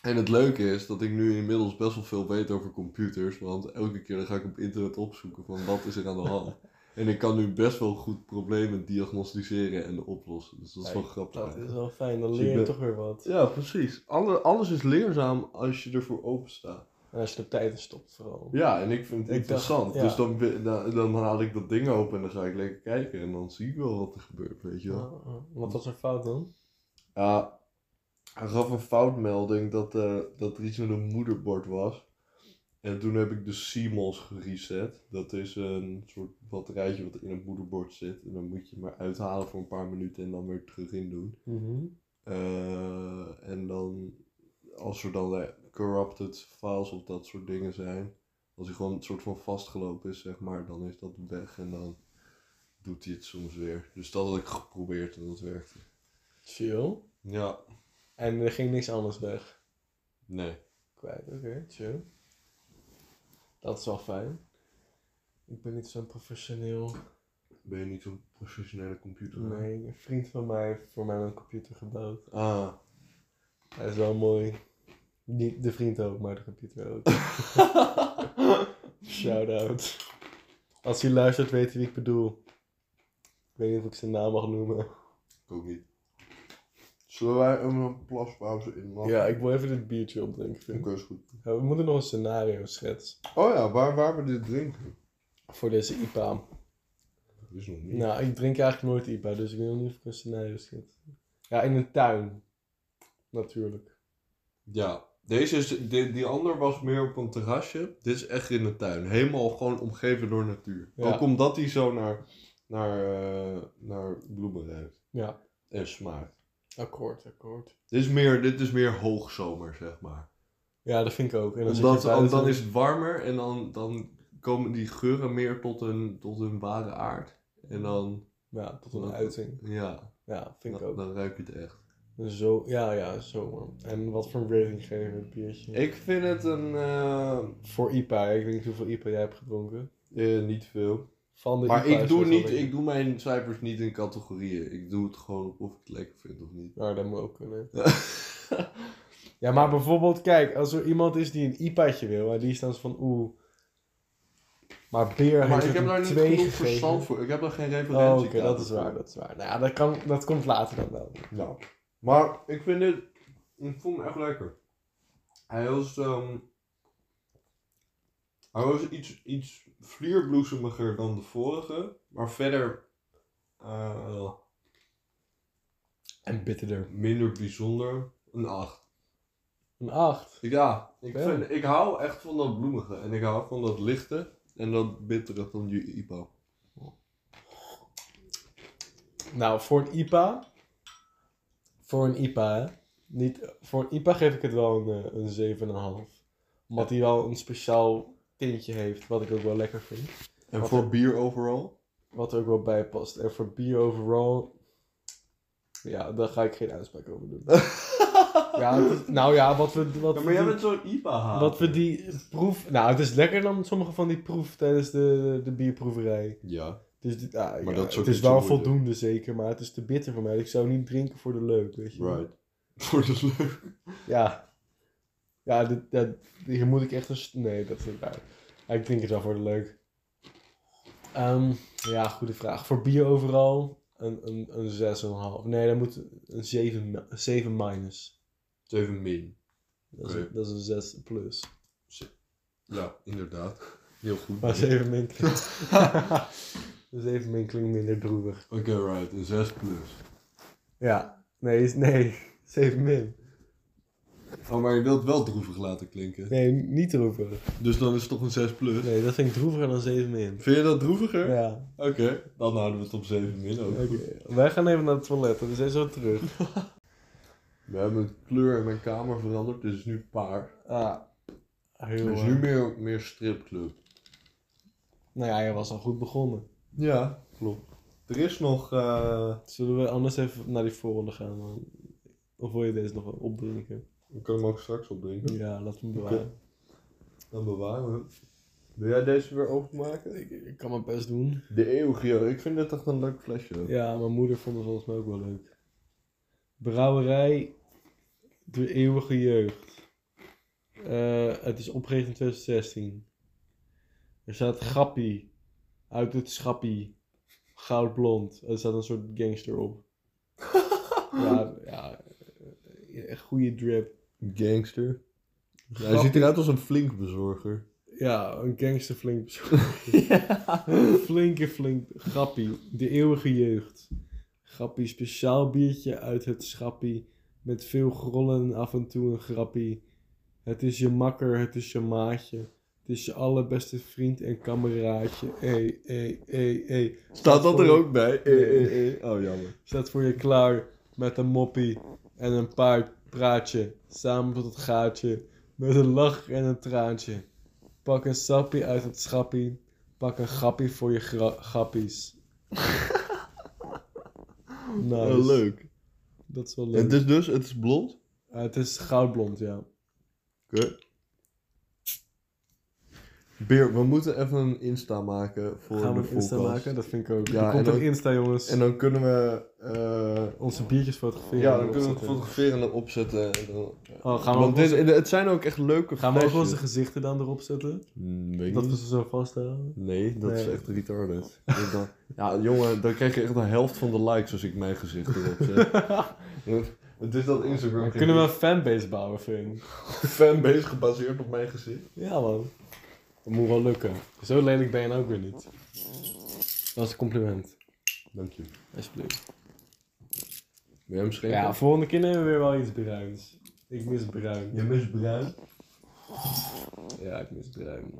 Speaker 1: En het leuke is dat ik nu inmiddels best wel veel weet over computers. Want elke keer dan ga ik op internet opzoeken van wat is er aan
Speaker 2: [laughs]
Speaker 1: de hand. en ik kan nu best wel goed problemen diagnosticeren en oplossen. Dus dat is wel
Speaker 2: Kijk,
Speaker 1: grappig.
Speaker 2: Dat
Speaker 1: eigenlijk.
Speaker 2: is wel fijn, dan
Speaker 1: Dus
Speaker 2: leer
Speaker 1: ik
Speaker 2: je
Speaker 1: ben-
Speaker 2: toch weer wat.
Speaker 1: Ja, precies. Alle, alles is leerzaam als je ervoor open staat.
Speaker 2: En als je er tijd in stopt vooral.
Speaker 1: Ja, en ik vind het
Speaker 2: dacht-
Speaker 1: interessant.
Speaker 2: ja.
Speaker 1: Dus dan, be- dan, dan haal ik dat ding open en dan ga ik lekker kijken. En dan zie ik wel wat er gebeurt, weet je wel. Ja,
Speaker 2: Ah, ah. Wat was er fout dan?
Speaker 1: hij gaf een foutmelding dat, eh, dat er iets met een moederbord was. En toen heb ik de CMOS gereset. Dat is een soort batterijtje wat in het moederbord zit. En dan moet je maar uithalen voor een paar minuten en dan weer terug in doen.
Speaker 2: Mhm.
Speaker 1: Eh, en dan, als er dan eh, corrupted files of dat soort dingen zijn, als hij gewoon een soort van vastgelopen is, zeg maar, dan is dat weg en dan doet hij het soms weer. Dus dat had ik geprobeerd en dat werkte.
Speaker 2: Chill.
Speaker 1: Ja,
Speaker 2: En er ging niks anders weg.
Speaker 1: nee.
Speaker 2: Kwijt, oké, chill. Dat is wel fijn. Ik ben niet zo'n professioneel.
Speaker 1: Ben je niet zo'n professionele computer?
Speaker 2: Nee, een vriend van mij heeft voor mij een computer gebouwd.
Speaker 1: Ah,
Speaker 2: Hij is wel mooi. Niet de vriend ook, maar de computer [laughs] ook. Shout out. Als hij luistert, weet hij wie ik bedoel. Ik weet niet of ik zijn naam mag noemen.
Speaker 1: Ik ook niet. Zullen wij hem een eh, plaspauze inlachen?
Speaker 2: Ja, ik wil even dit biertje opdrinken. vind ik.
Speaker 1: Oké, is goed.
Speaker 2: Ja, we moeten nog een scenario schetsen
Speaker 1: Oh ja, waar, waar we dit drinken?
Speaker 2: voor deze IPA.
Speaker 1: Dat is nog niet.
Speaker 2: Nou, ik drink eigenlijk nooit IPA, dus ik weet nog niet of ik een scenario schets. Ja, in een tuin. Natuurlijk.
Speaker 1: Ja, deze is, die, die ander was meer op een terrasje. Dit is echt in de tuin. Helemaal gewoon omgeven door natuur.
Speaker 2: Ja.
Speaker 1: Ook omdat hij zo naar, naar, eh, naar bloemen ruikt
Speaker 2: Ja.
Speaker 1: en smaakt.
Speaker 2: Akkoord, akkoord.
Speaker 1: Dit is meer, dit is meer hoogzomer, zeg maar.
Speaker 2: Ja, dat vind ik ook. En dan, zit
Speaker 1: Omdat,
Speaker 2: je buiten-
Speaker 1: dan is het warmer en dan, dan komen die geuren meer tot hun, tot hun ware aard. En dan,
Speaker 2: Ja, tot een uiting.
Speaker 1: ja,
Speaker 2: Ja, vind ik
Speaker 1: dan,
Speaker 2: ook. Dus
Speaker 1: dan ruik je het echt.
Speaker 2: Zo, ja, ja, zomer. En wat voor een rating geven we het biertje?
Speaker 1: Ik vind het een, eh,
Speaker 2: Voor IPA, ik weet niet hoeveel IPA jij hebt gedronken.
Speaker 1: eh, niet veel.
Speaker 2: Van de
Speaker 1: Maar
Speaker 2: IPA
Speaker 1: ik
Speaker 2: is
Speaker 1: doe,
Speaker 2: best wel
Speaker 1: niet,
Speaker 2: lekker.
Speaker 1: ik doe mijn cijfers niet in categorieën. Ik doe het gewoon of ik het lekker vind of niet.
Speaker 2: Nou, dat moet ook kunnen.
Speaker 1: [laughs]
Speaker 2: Ja, maar bijvoorbeeld, kijk, als er iemand is die een IPA'tje wil, en die is dan zo van, oeh. Maar Beer
Speaker 1: maar
Speaker 2: heeft
Speaker 1: ik
Speaker 2: het
Speaker 1: heb daar
Speaker 2: een
Speaker 1: niet
Speaker 2: twee
Speaker 1: genoeg
Speaker 2: gegeven.
Speaker 1: verstand voor. Ik heb daar geen
Speaker 2: Oh,
Speaker 1: referentie
Speaker 2: oké, dat is waar, dat is waar. Nou ja, dat, kan, dat komt later dan wel.
Speaker 1: Nou, maar ik vind dit... Ik vond hem echt lekker. Hij was... ehm, hij was iets, iets vlierbloesemiger dan de vorige. Maar verder... eh,
Speaker 2: En bitterder.
Speaker 1: minder bijzonder. Een 8.
Speaker 2: Een 8.
Speaker 1: Ja, ik,
Speaker 2: Ja.
Speaker 1: vind, ik hou echt van dat bloemige en ik hou van dat lichte en dat bittere van die IPA.
Speaker 2: Nou, voor een IPA. Voor een IPA, hè. Niet, voor een IPA geef ik het wel een, eh, een 7,5. Omdat hij wel een speciaal tintje heeft, wat ik ook wel lekker vind.
Speaker 1: En
Speaker 2: Wat
Speaker 1: voor
Speaker 2: een-
Speaker 1: bier overal?
Speaker 2: Wat er ook wel bij past. En voor bier overall. Ja, daar ga ik geen uitspraak over
Speaker 1: [laughs]
Speaker 2: doen. ja, het is- nou ja, wat we, wat, we die,
Speaker 1: zo'n IPA haat.
Speaker 2: wat we die proef. Nou, het is lekker dan sommige van die proef tijdens de, de bierproeverij.
Speaker 1: Ja, [laughs]
Speaker 2: Dus dit, ah,
Speaker 1: Maar
Speaker 2: ja,
Speaker 1: dat is ook
Speaker 2: het is
Speaker 1: niet zo
Speaker 2: wel
Speaker 1: moeilijk.
Speaker 2: voldoende zeker, maar het is te bitter voor mij. Ik zou niet drinken voor de leuk, weet je.
Speaker 1: right. Voor de leuk.
Speaker 2: Ja. Ja, dit, dat, hier moet ik echt een... st- Nee, dat is niet waar. Ja, ik drink het wel voor de leuk. Ehm, ja, goede vraag. Voor bier overal een, een, een 6,5. Nee, dat moet een 7, mi- een 7 minus.
Speaker 1: Even min.
Speaker 2: Dat is,
Speaker 1: Oké.
Speaker 2: een, dat is een 6 plus.
Speaker 1: Ja, inderdaad. Heel goed.
Speaker 2: Maar
Speaker 1: Oké,
Speaker 2: 7 min klinkt... [laughs] 7 min klinkt minder droevig.
Speaker 1: right. Een 6 plus.
Speaker 2: Ja. Nee, is- nee. [laughs] 7 min.
Speaker 1: Oh, maar je wilt wel droevig laten klinken.
Speaker 2: Nee, niet droevig.
Speaker 1: Dus dan is het toch een 6 plus?
Speaker 2: Nee, dat vind ik droeviger dan 7 min.
Speaker 1: Vind je dat droeviger?
Speaker 2: Ja.
Speaker 1: Oké, dan houden we het op 7 min ook.
Speaker 2: Oké. Wij gaan even naar het toilet. We zijn zo terug.
Speaker 1: We hebben de kleur in mijn kamer veranderd. dus Het is nu paars.
Speaker 2: Ah, heel.
Speaker 1: Het is
Speaker 2: eh,
Speaker 1: nu meer, meer stripclub.
Speaker 2: Nou ja, je was al goed begonnen.
Speaker 1: Ja, klopt. Er is nog. eh,
Speaker 2: Zullen we anders even naar die volgende gaan? Man? Of wil je deze nog wel opdrinken?
Speaker 1: Ik kan hem ook straks opdrinken.
Speaker 2: Ja, laat hem bewaren.
Speaker 1: Dan bewaren we hem. Wil jij deze weer openmaken?
Speaker 2: Ik, ik kan mijn best doen.
Speaker 1: De eeuwigio. Ik vind dit echt een leuk flesje.
Speaker 2: Ja, mijn moeder vond het volgens mij ook wel leuk. Brouwerij De Eeuwige Jeugd. Eh, het is opgericht in 2016. Er staat Grappie. Uit het Schappie. Goudblond. Er staat een soort gangster op. ja, ja. eh, Echt goede drip.
Speaker 1: Gangster. Hij
Speaker 2: Grappie.
Speaker 1: ziet eruit als een flink bezorger.
Speaker 2: Ja, een gangster flink
Speaker 1: [laughs]
Speaker 2: Flinke flink. Grappie. De eeuwige jeugd. Grappie, speciaal biertje uit het schappie. Met veel grollen en af en toe een grappie. Het is je makker, het is je maatje. Het is je allerbeste vriend en kameraadje. Ey, ey, ey, ey.
Speaker 1: Staat dat er
Speaker 2: voor-
Speaker 1: ook bij? Eh, eh, eh. Oh, jammer.
Speaker 2: Staat voor je klaar met een moppie en een paar praatje. Samen tot het gaatje met een lach en een traantje. Pak een sappie uit het schappie. Pak een grappie voor je gra-
Speaker 1: [laughs]
Speaker 2: grappies. nice.
Speaker 1: Oh, leuk.
Speaker 2: Dat is wel leuk.
Speaker 1: Het is dus, het is blond.
Speaker 2: Ah, het is goudblond, ja.
Speaker 1: Oké. Beer, we moeten even een Insta maken voor
Speaker 2: Gaan we
Speaker 1: de
Speaker 2: een Insta
Speaker 1: podcast.
Speaker 2: maken? Dat vind ik ook.
Speaker 1: Ja,
Speaker 2: er komt
Speaker 1: en
Speaker 2: een
Speaker 1: ook-
Speaker 2: Insta, jongens.
Speaker 1: En dan kunnen we... eh,
Speaker 2: onze biertjes fotograferen.
Speaker 1: ja,
Speaker 2: en
Speaker 1: dan kunnen we het
Speaker 2: opzetten.
Speaker 1: fotograferen en opzetten. En dan,
Speaker 2: Oh, gaan we, ook
Speaker 1: Want dit,
Speaker 2: onze,
Speaker 1: het zijn ook echt leuke
Speaker 2: gaan we ook
Speaker 1: flesjes.
Speaker 2: onze gezichten dan erop zetten?
Speaker 1: Mm, weet ik
Speaker 2: Dat we
Speaker 1: niet.
Speaker 2: ze zo vasthouden?
Speaker 1: Nee, dat is
Speaker 2: Nee.
Speaker 1: echt retarded. Ik dacht- ja, jongen, dan krijg je echt de helft van de likes als ik mijn gezicht erop
Speaker 2: [laughs]
Speaker 1: zet. Het- Het is dat Instagram.
Speaker 2: Kunnen we een fanbase bouwen, Finn?
Speaker 1: fanbase gebaseerd op mijn gezicht?
Speaker 2: Ja, man. Dat moet wel lukken. Zo lelijk ben je nou ook weer niet. Dat is een compliment.
Speaker 1: Dank je.
Speaker 2: Alsjeblieft.
Speaker 1: Wil jij hem schenken?
Speaker 2: Ja, volgende keer nemen we weer wel iets bruins. Ik mis bruin.
Speaker 1: Je mist bruin.
Speaker 2: Ja, ik mis bruin.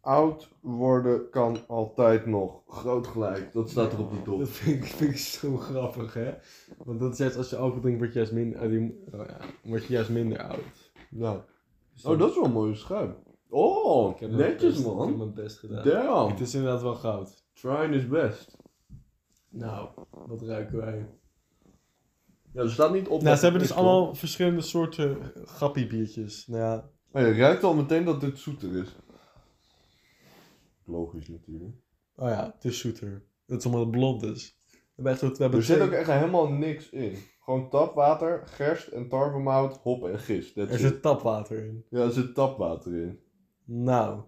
Speaker 1: Oud worden kan altijd nog. Groot gelijk. Dat staat er op de top.
Speaker 2: Dat vind ik, vind ik zo grappig, hè? Want dat is juist, als je alcohol drinkt, word je juist minder, eh, die- oh ja, word je juist minder oud.
Speaker 1: Ja.
Speaker 2: Dus
Speaker 1: Oh, dat is wel een mooie schuim. Oh,
Speaker 2: ik heb mijn
Speaker 1: netjes
Speaker 2: best- Ik heb
Speaker 1: man.
Speaker 2: mijn best gedaan.
Speaker 1: Damn.
Speaker 2: Het is inderdaad wel goud.
Speaker 1: Trying is best.
Speaker 2: Nou, wat ruiken wij?
Speaker 1: Ja, er staat niet op.
Speaker 2: Nou, ze hebben dus allemaal verschillende soorten grappiebiertjes. Nou ja,
Speaker 1: Maar je ruikt al meteen dat dit zoeter is. Logisch natuurlijk.
Speaker 2: oh ja, het is zoeter. Het is omdat het blond is. We hebben echt, we hebben
Speaker 1: Er zit
Speaker 2: twee-
Speaker 1: ook echt helemaal niks in. Gewoon tapwater, gerst en tarwemout, hop en gist. That's
Speaker 2: er
Speaker 1: it.
Speaker 2: zit tapwater in.
Speaker 1: Ja, er zit tapwater in.
Speaker 2: Nou,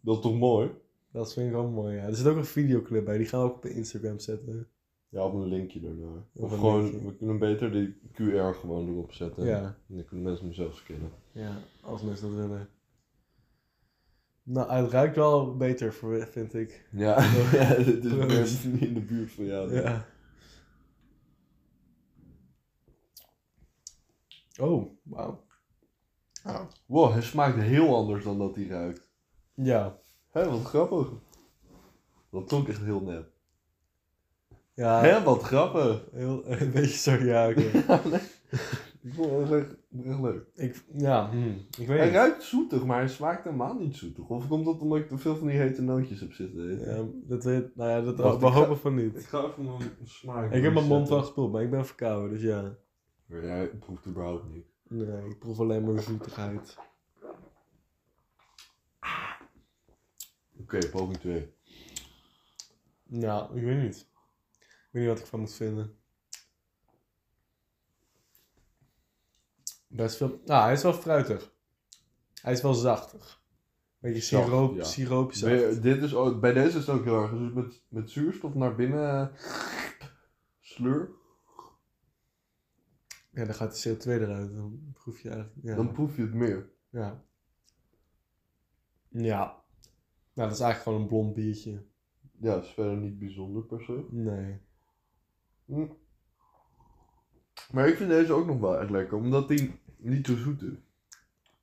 Speaker 1: Dat is toch mooi?
Speaker 2: dat vind ik wel mooi, ja. Er zit ook een videoclip bij, die gaan we ook op de Instagram zetten.
Speaker 1: Ja, of een linkje daarna. Of,
Speaker 2: Of een
Speaker 1: gewoon,
Speaker 2: linkje.
Speaker 1: we kunnen beter die QR gewoon erop zetten.
Speaker 2: Ja.
Speaker 1: En dan kunnen mensen hem zelf scannen.
Speaker 2: Ja, als mensen dat willen. Nou, het ruikt wel beter, voor- vind ik.
Speaker 1: Ja, [laughs] ja dit is
Speaker 2: Proost.
Speaker 1: niet in de buurt van jou.
Speaker 2: Ja. Oh, wauw.
Speaker 1: Wow, hij smaakt heel anders dan dat hij ruikt.
Speaker 2: Ja.
Speaker 1: Hé, wat grappig. Dat klonk echt heel nep.
Speaker 2: Ja,
Speaker 1: Hé, wat grappig.
Speaker 2: heel, [laughs] een beetje zo, ja, oké.
Speaker 1: Ik vond het echt, echt leuk.
Speaker 2: ik, ja, hm, ik
Speaker 1: Hij
Speaker 2: weet het.
Speaker 1: ruikt zoetig, maar hij smaakt helemaal niet zoetig. Of komt dat omdat ik te veel van die hete nootjes heb zitten eten?
Speaker 2: Ja, dat weet, nou ja, dat,
Speaker 1: Wacht,
Speaker 2: we
Speaker 1: ik ga-
Speaker 2: hopen van niet.
Speaker 1: ga even mijn smaak
Speaker 2: Ik heb mijn mond wel
Speaker 1: resetten.
Speaker 2: gespoeld, maar ik ben verkouden, dus ja.
Speaker 1: Maar jij proeft überhaupt niet.
Speaker 2: Nee, ik proef alleen maar zoetigheid.
Speaker 1: Oké, poging 2.
Speaker 2: Ja, Nou, ik weet niet. Ik weet niet wat ik van moet vinden. Best veel... Nou, hij is wel fruitig. Hij is wel zachtig. Beetje
Speaker 1: Zacht,
Speaker 2: siroop,
Speaker 1: ja.
Speaker 2: siroopzacht.
Speaker 1: Dit is ook, bij deze is het ook heel erg. Dus met, met zuurstof naar binnen eh, sleur.
Speaker 2: Ja, dan gaat de CO2 eruit. Dan proef je eigenlijk... Ja.
Speaker 1: Dan proef je het meer.
Speaker 2: ja. Ja. Nou, dat is eigenlijk gewoon een blond biertje.
Speaker 1: Ja, is verder niet bijzonder per se.
Speaker 2: Nee.
Speaker 1: Maar ik vind deze ook nog wel echt lekker, omdat die niet zo zoet is.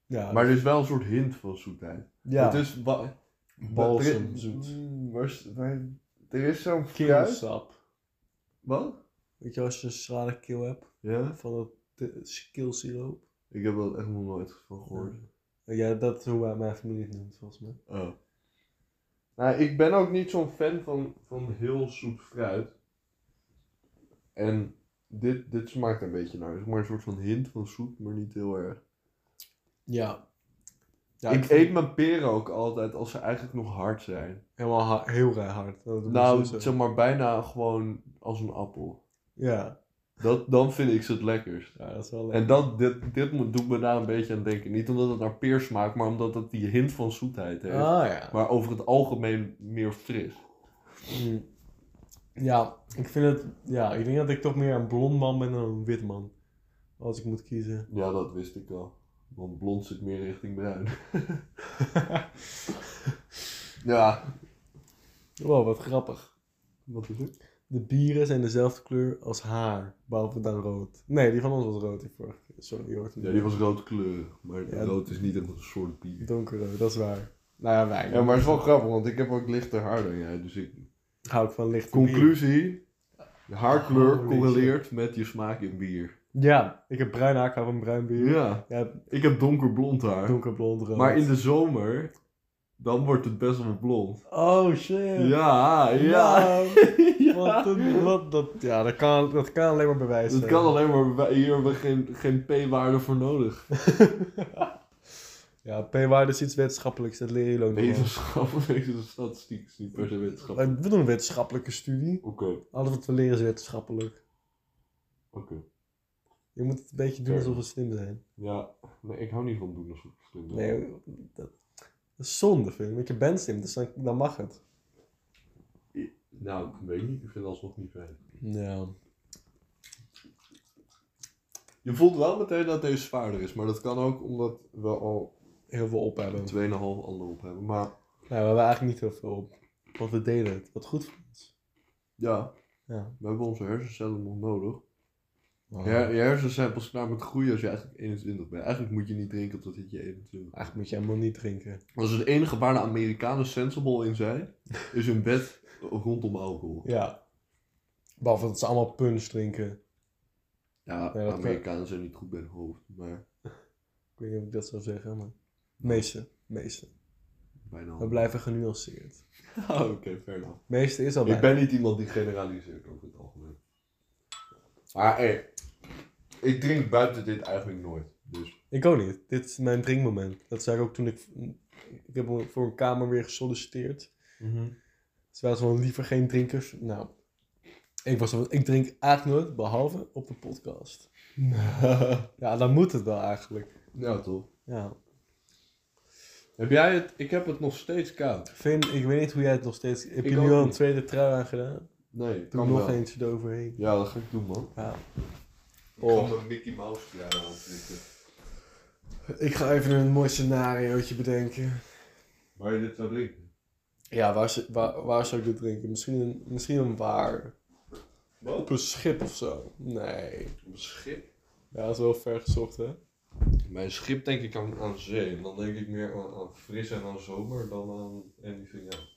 Speaker 2: Ja, dus-
Speaker 1: Maar er is wel een soort hint van zoetheid.
Speaker 2: ja.
Speaker 1: Het is wa-
Speaker 2: Balsemzoet.
Speaker 1: Mm, waar is- waar- Er is zo'n fruit.
Speaker 2: keelsap.
Speaker 1: Wat?
Speaker 2: Weet je, als je een schrale keel hebt
Speaker 1: Ja?
Speaker 2: van dat eh, keelsiroop.
Speaker 1: Ik heb dat echt nog nooit van gehoord.
Speaker 2: Ja, dat is hoe mijn familie het noemt, volgens mij.
Speaker 1: Oh. Nou, ik ben ook niet zo'n fan van, van heel zoet fruit. En dit, dit smaakt een beetje naar. Zeg maar een soort van hint van zoet, maar niet heel erg.
Speaker 2: Ja.
Speaker 1: ik eet mijn peren ook altijd als ze eigenlijk nog hard zijn.
Speaker 2: helemaal ha- heel raar hard. Dat moet
Speaker 1: Nou,
Speaker 2: ik zo
Speaker 1: zeg
Speaker 2: zeggen.
Speaker 1: maar bijna gewoon als een appel.
Speaker 2: Ja.
Speaker 1: Dat, dan vind ik ze het lekkerst.
Speaker 2: ja, dat is wel leuk.
Speaker 1: En dat, dit, dit moet- doet me daar een beetje aan denken. Niet omdat het naar peer smaakt, maar omdat het die hint van zoetheid heeft.
Speaker 2: ah ja.
Speaker 1: Maar over het algemeen meer fris.
Speaker 2: Hm. Ja, ik vind het... Ja, ik denk dat ik toch meer een blond man ben dan een wit man. Als ik moet kiezen.
Speaker 1: Ja, dat wist ik al. Want blond zit meer richting bruin. [laughs] ja.
Speaker 2: Wow, wat grappig.
Speaker 1: Wat is het?
Speaker 2: De bieren zijn dezelfde kleur als haar, behalve dan rood. Nee, die van ons was rood. Die vorige keer. Sorry, die hoort hem
Speaker 1: Ja,
Speaker 2: niet.
Speaker 1: die was roodkleurig. Maar
Speaker 2: Ja.
Speaker 1: rood is niet echt een soort bier.
Speaker 2: Donkerrood, dat is waar. Nou ja, wij.
Speaker 1: Ja, maar het is wel grappig, want ik heb ook lichter haar dan jij. Dus ik...
Speaker 2: Hou ik van licht.
Speaker 1: Conclusie. De haarkleur
Speaker 2: Holy
Speaker 1: correleert met je smaak in bier.
Speaker 2: Ja, ik heb bruin haar, ik hou van bruin bier.
Speaker 1: Ja.
Speaker 2: Jij hebt
Speaker 1: Ik heb donkerblond haar.
Speaker 2: donkerblond rood.
Speaker 1: Maar in de zomer, dan wordt het best wel blond.
Speaker 2: Oh shit.
Speaker 1: Ja, ja.
Speaker 2: Nou,
Speaker 1: [laughs]
Speaker 2: [laughs]
Speaker 1: ja.
Speaker 2: Wat een, wat, dat, ja, dat kan, dat kan alleen maar bewijzen.
Speaker 1: Dat kan alleen maar, wij- hier hebben we geen, geen P-waarde voor nodig.
Speaker 2: Ja, p-waarde is iets wetenschappelijks, dat leer je ook nog wel.
Speaker 1: [laughs] Wetenschappelijk is een statistiek, is niet per se wetenschap.
Speaker 2: Wij- We doen een wetenschappelijke studie.
Speaker 1: Oké,
Speaker 2: Alles wat we leren is wetenschappelijk.
Speaker 1: oké.
Speaker 2: Je moet het een beetje doen
Speaker 1: Fair.
Speaker 2: alsof we slim zijn.
Speaker 1: Ja, nee, ik hou niet van doen als ik slim ben.
Speaker 2: Nee, dat, dat is zonde, vind ik. Want je bent slim, dus dan, dan mag het.
Speaker 1: Nou, ik weet niet, ik vind het alsnog niet fijn.
Speaker 2: Ja.
Speaker 1: Je voelt wel meteen dat deze zwaarder is, maar dat kan ook omdat we al 2,5
Speaker 2: Heel veel op hebben.
Speaker 1: ander op hebben. Maar
Speaker 2: Nou, we hebben eigenlijk niet heel veel op. Want we delen het. Wat goed voor ons.
Speaker 1: ja,
Speaker 2: Ja.
Speaker 1: we hebben onze hersencellen nog nodig. Je, her- je hersens zijn pas klaar met groeien als je eigenlijk 21 bent. Eigenlijk moet je niet drinken tot je 21
Speaker 2: Eigenlijk moet je helemaal niet drinken.
Speaker 1: Dat is het enige waar de Amerikanen sensible in
Speaker 2: [laughs]
Speaker 1: zijn, is hun bed rondom alcohol.
Speaker 2: Ja. Behalve dat ze allemaal punch drinken.
Speaker 1: Ja,
Speaker 2: Ja, dat- eh,
Speaker 1: Amerikanen zijn niet goed bij hun hoofd, maar
Speaker 2: Ik weet niet of ik dat zou zeggen, maar... Meeste. Meeste.
Speaker 1: bijna.
Speaker 2: We
Speaker 1: allemaal.
Speaker 2: blijven genuanceerd.
Speaker 1: [laughs] Ah, Oké, fair enough.
Speaker 2: Meeste is al
Speaker 1: Ik
Speaker 2: bijna.
Speaker 1: ben niet iemand die generaliseert over het algemeen. Maar hé, ik drink buiten dit eigenlijk nooit. Dus
Speaker 2: Ik ook niet. Dit is mijn drinkmoment. Dat zei ik ook toen ik... Ik heb voor een kamer weer gesolliciteerd. Mhm. Ze waren zo van liever geen drinkers. Nou, ik, was, zo van, ik drink eigenlijk nooit, behalve op de
Speaker 1: [laughs]
Speaker 2: podcast. ja, dan moet het wel eigenlijk.
Speaker 1: ja, Nou, toch.
Speaker 2: Ja.
Speaker 1: Heb jij het? Ik heb het nog steeds koud.
Speaker 2: Vin, ik weet niet hoe jij het nog steeds... Heb
Speaker 1: Ik
Speaker 2: je
Speaker 1: ook
Speaker 2: nu al een
Speaker 1: niet.
Speaker 2: tweede trui aan gedaan?
Speaker 1: Nee,
Speaker 2: Doe
Speaker 1: kan
Speaker 2: nog
Speaker 1: wel.
Speaker 2: eentje eroverheen.
Speaker 1: Ja, dat ga ik doen, man.
Speaker 2: Ja.
Speaker 1: Oh. Ik ga mijn Mickey Mouse kleren aantrekken.
Speaker 2: Ik ga even een mooi scenariootje bedenken.
Speaker 1: Waar je dit zou drinken?
Speaker 2: Ja, waar, zou- waar, waar zou ik dit drinken? Misschien een, misschien een waar.
Speaker 1: Wat?
Speaker 2: Op een schip of zo. Nee.
Speaker 1: Op een schip?
Speaker 2: Ja, dat is wel ver gezocht, hè?
Speaker 1: Mijn schip denk ik aan, aan zee. En dan denk ik meer aan, aan fris en aan zomer dan aan anything [laughs] else.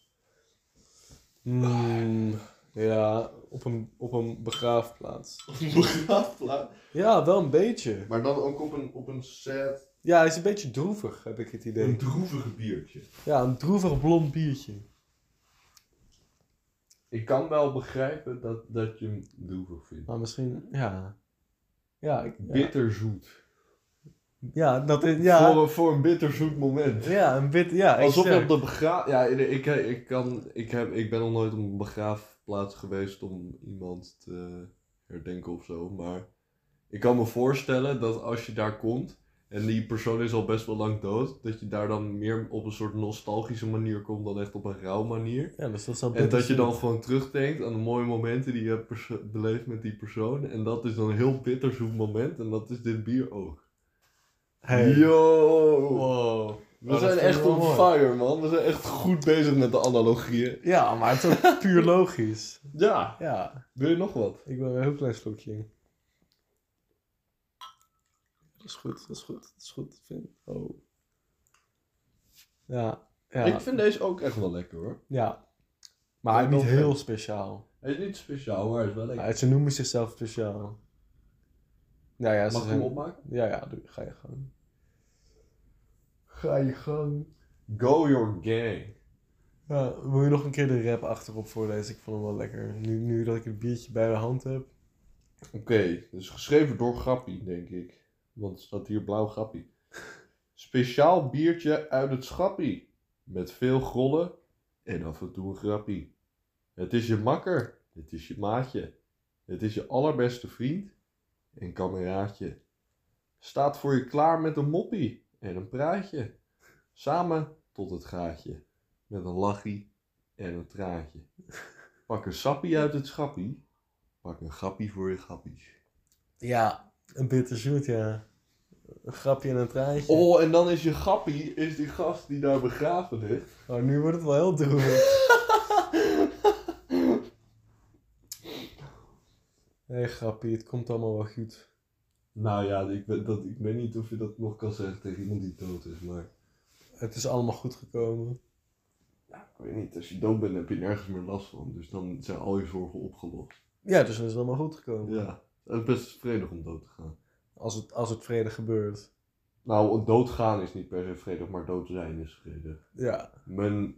Speaker 2: Mm, ja, op een, op een begraafplaats.
Speaker 1: Begraafplaats.
Speaker 2: Ja, wel een beetje.
Speaker 1: maar dan ook op een, op een sad...
Speaker 2: Ja, hij is een beetje droevig, heb ik het idee.
Speaker 1: Een droevige biertje.
Speaker 2: Ja, een droevig blond biertje.
Speaker 1: Ik kan wel begrijpen dat, dat je hem droevig vindt.
Speaker 2: Maar misschien, ja. Ja, ik, ja.
Speaker 1: Bitterzoet.
Speaker 2: ja dat is, ja.
Speaker 1: Voor, een- voor een bitterzoet moment.
Speaker 2: Ja, een wit, ja,
Speaker 1: Alsof je op
Speaker 2: exact.
Speaker 1: de begraaf... Ja, ik, ik, ik, kan, ik, heb, ik ben nog nooit op een begraafplaats geweest om iemand te herdenken of zo. Maar ik kan me voorstellen dat als je daar komt... En die persoon is al best wel lang dood. Dat je daar dan meer op een soort nostalgische manier komt dan echt op een rauw manier.
Speaker 2: Ja, dus dat zou
Speaker 1: En dat je
Speaker 2: bitterzoet-
Speaker 1: dan gewoon terugdenkt aan de mooie momenten die je hebt perso- beleefd met die persoon. En dat is dan een heel bitterzoet moment. En dat is dit bier ook.
Speaker 2: Hey.
Speaker 1: Yo!
Speaker 2: Wow.
Speaker 1: We
Speaker 2: Oh, dat
Speaker 1: zijn
Speaker 2: vind ik
Speaker 1: echt
Speaker 2: wel
Speaker 1: on
Speaker 2: mooi.
Speaker 1: fire, man. We zijn echt goed bezig met de analogieën.
Speaker 2: Ja, maar het is ook puur logisch.
Speaker 1: Ja,
Speaker 2: Ja.
Speaker 1: wil je nog wat?
Speaker 2: Ik wil een heel klein slokje. Dat is goed, dat is goed, dat is goed. Vind. Oh. Ja, ja,
Speaker 1: Ik vind deze ook echt wel lekker, hoor.
Speaker 2: ja. Maar
Speaker 1: Ik
Speaker 2: niet
Speaker 1: ben
Speaker 2: heel
Speaker 1: fan.
Speaker 2: speciaal.
Speaker 1: Hij is niet speciaal, maar hij is wel lekker.
Speaker 2: Ja, ze noemen zichzelf speciaal. Nou ja, ze
Speaker 1: Mag ik hem
Speaker 2: zijn...
Speaker 1: opmaken?
Speaker 2: Ja, ja, doe, ga je gang.
Speaker 1: Ga je gang. Go your gang.
Speaker 2: Ja, wil je nog een keer de rap achterop voorlezen? Ik vond hem wel lekker. Nu, nu dat ik het biertje bij de hand heb.
Speaker 1: Oké, dus geschreven door Grappie, denk ik. Want het staat hier blauw Grappie. Speciaal biertje uit het schappie. Met veel grollen en af en toe een grappie. Het is je makker, het is je maatje. Het is je allerbeste vriend en kameraadje. Staat voor je klaar met een moppie en een praatje. Samen tot het gaatje. Met een lachie en een traantje. Pak een sappie uit het schappie. Pak een grappie voor je grappies.
Speaker 2: Ja, een bitterzoet, ja. Een grapje en een traantje.
Speaker 1: Oh, en dan is je grappie, is die gast die daar begraven ligt.
Speaker 2: Oh, nu wordt het wel heel [laughs] droevig. Nee, grappie, het komt allemaal wel goed.
Speaker 1: Nou ja, ik weet, dat, ik weet niet of je dat nog kan zeggen tegen iemand die dood is, maar...
Speaker 2: Het is allemaal goed gekomen.
Speaker 1: Ik weet niet, als je dood bent heb je nergens meer last van, dus dan zijn al je zorgen opgelost.
Speaker 2: Ja, dus dan is het allemaal goed gekomen.
Speaker 1: Ja, het is best vredig om dood te gaan.
Speaker 2: Als, het, als het vrede gebeurt.
Speaker 1: Nou, doodgaan is niet per se vredig, maar dood zijn is vredig.
Speaker 2: Ja.
Speaker 1: Mijn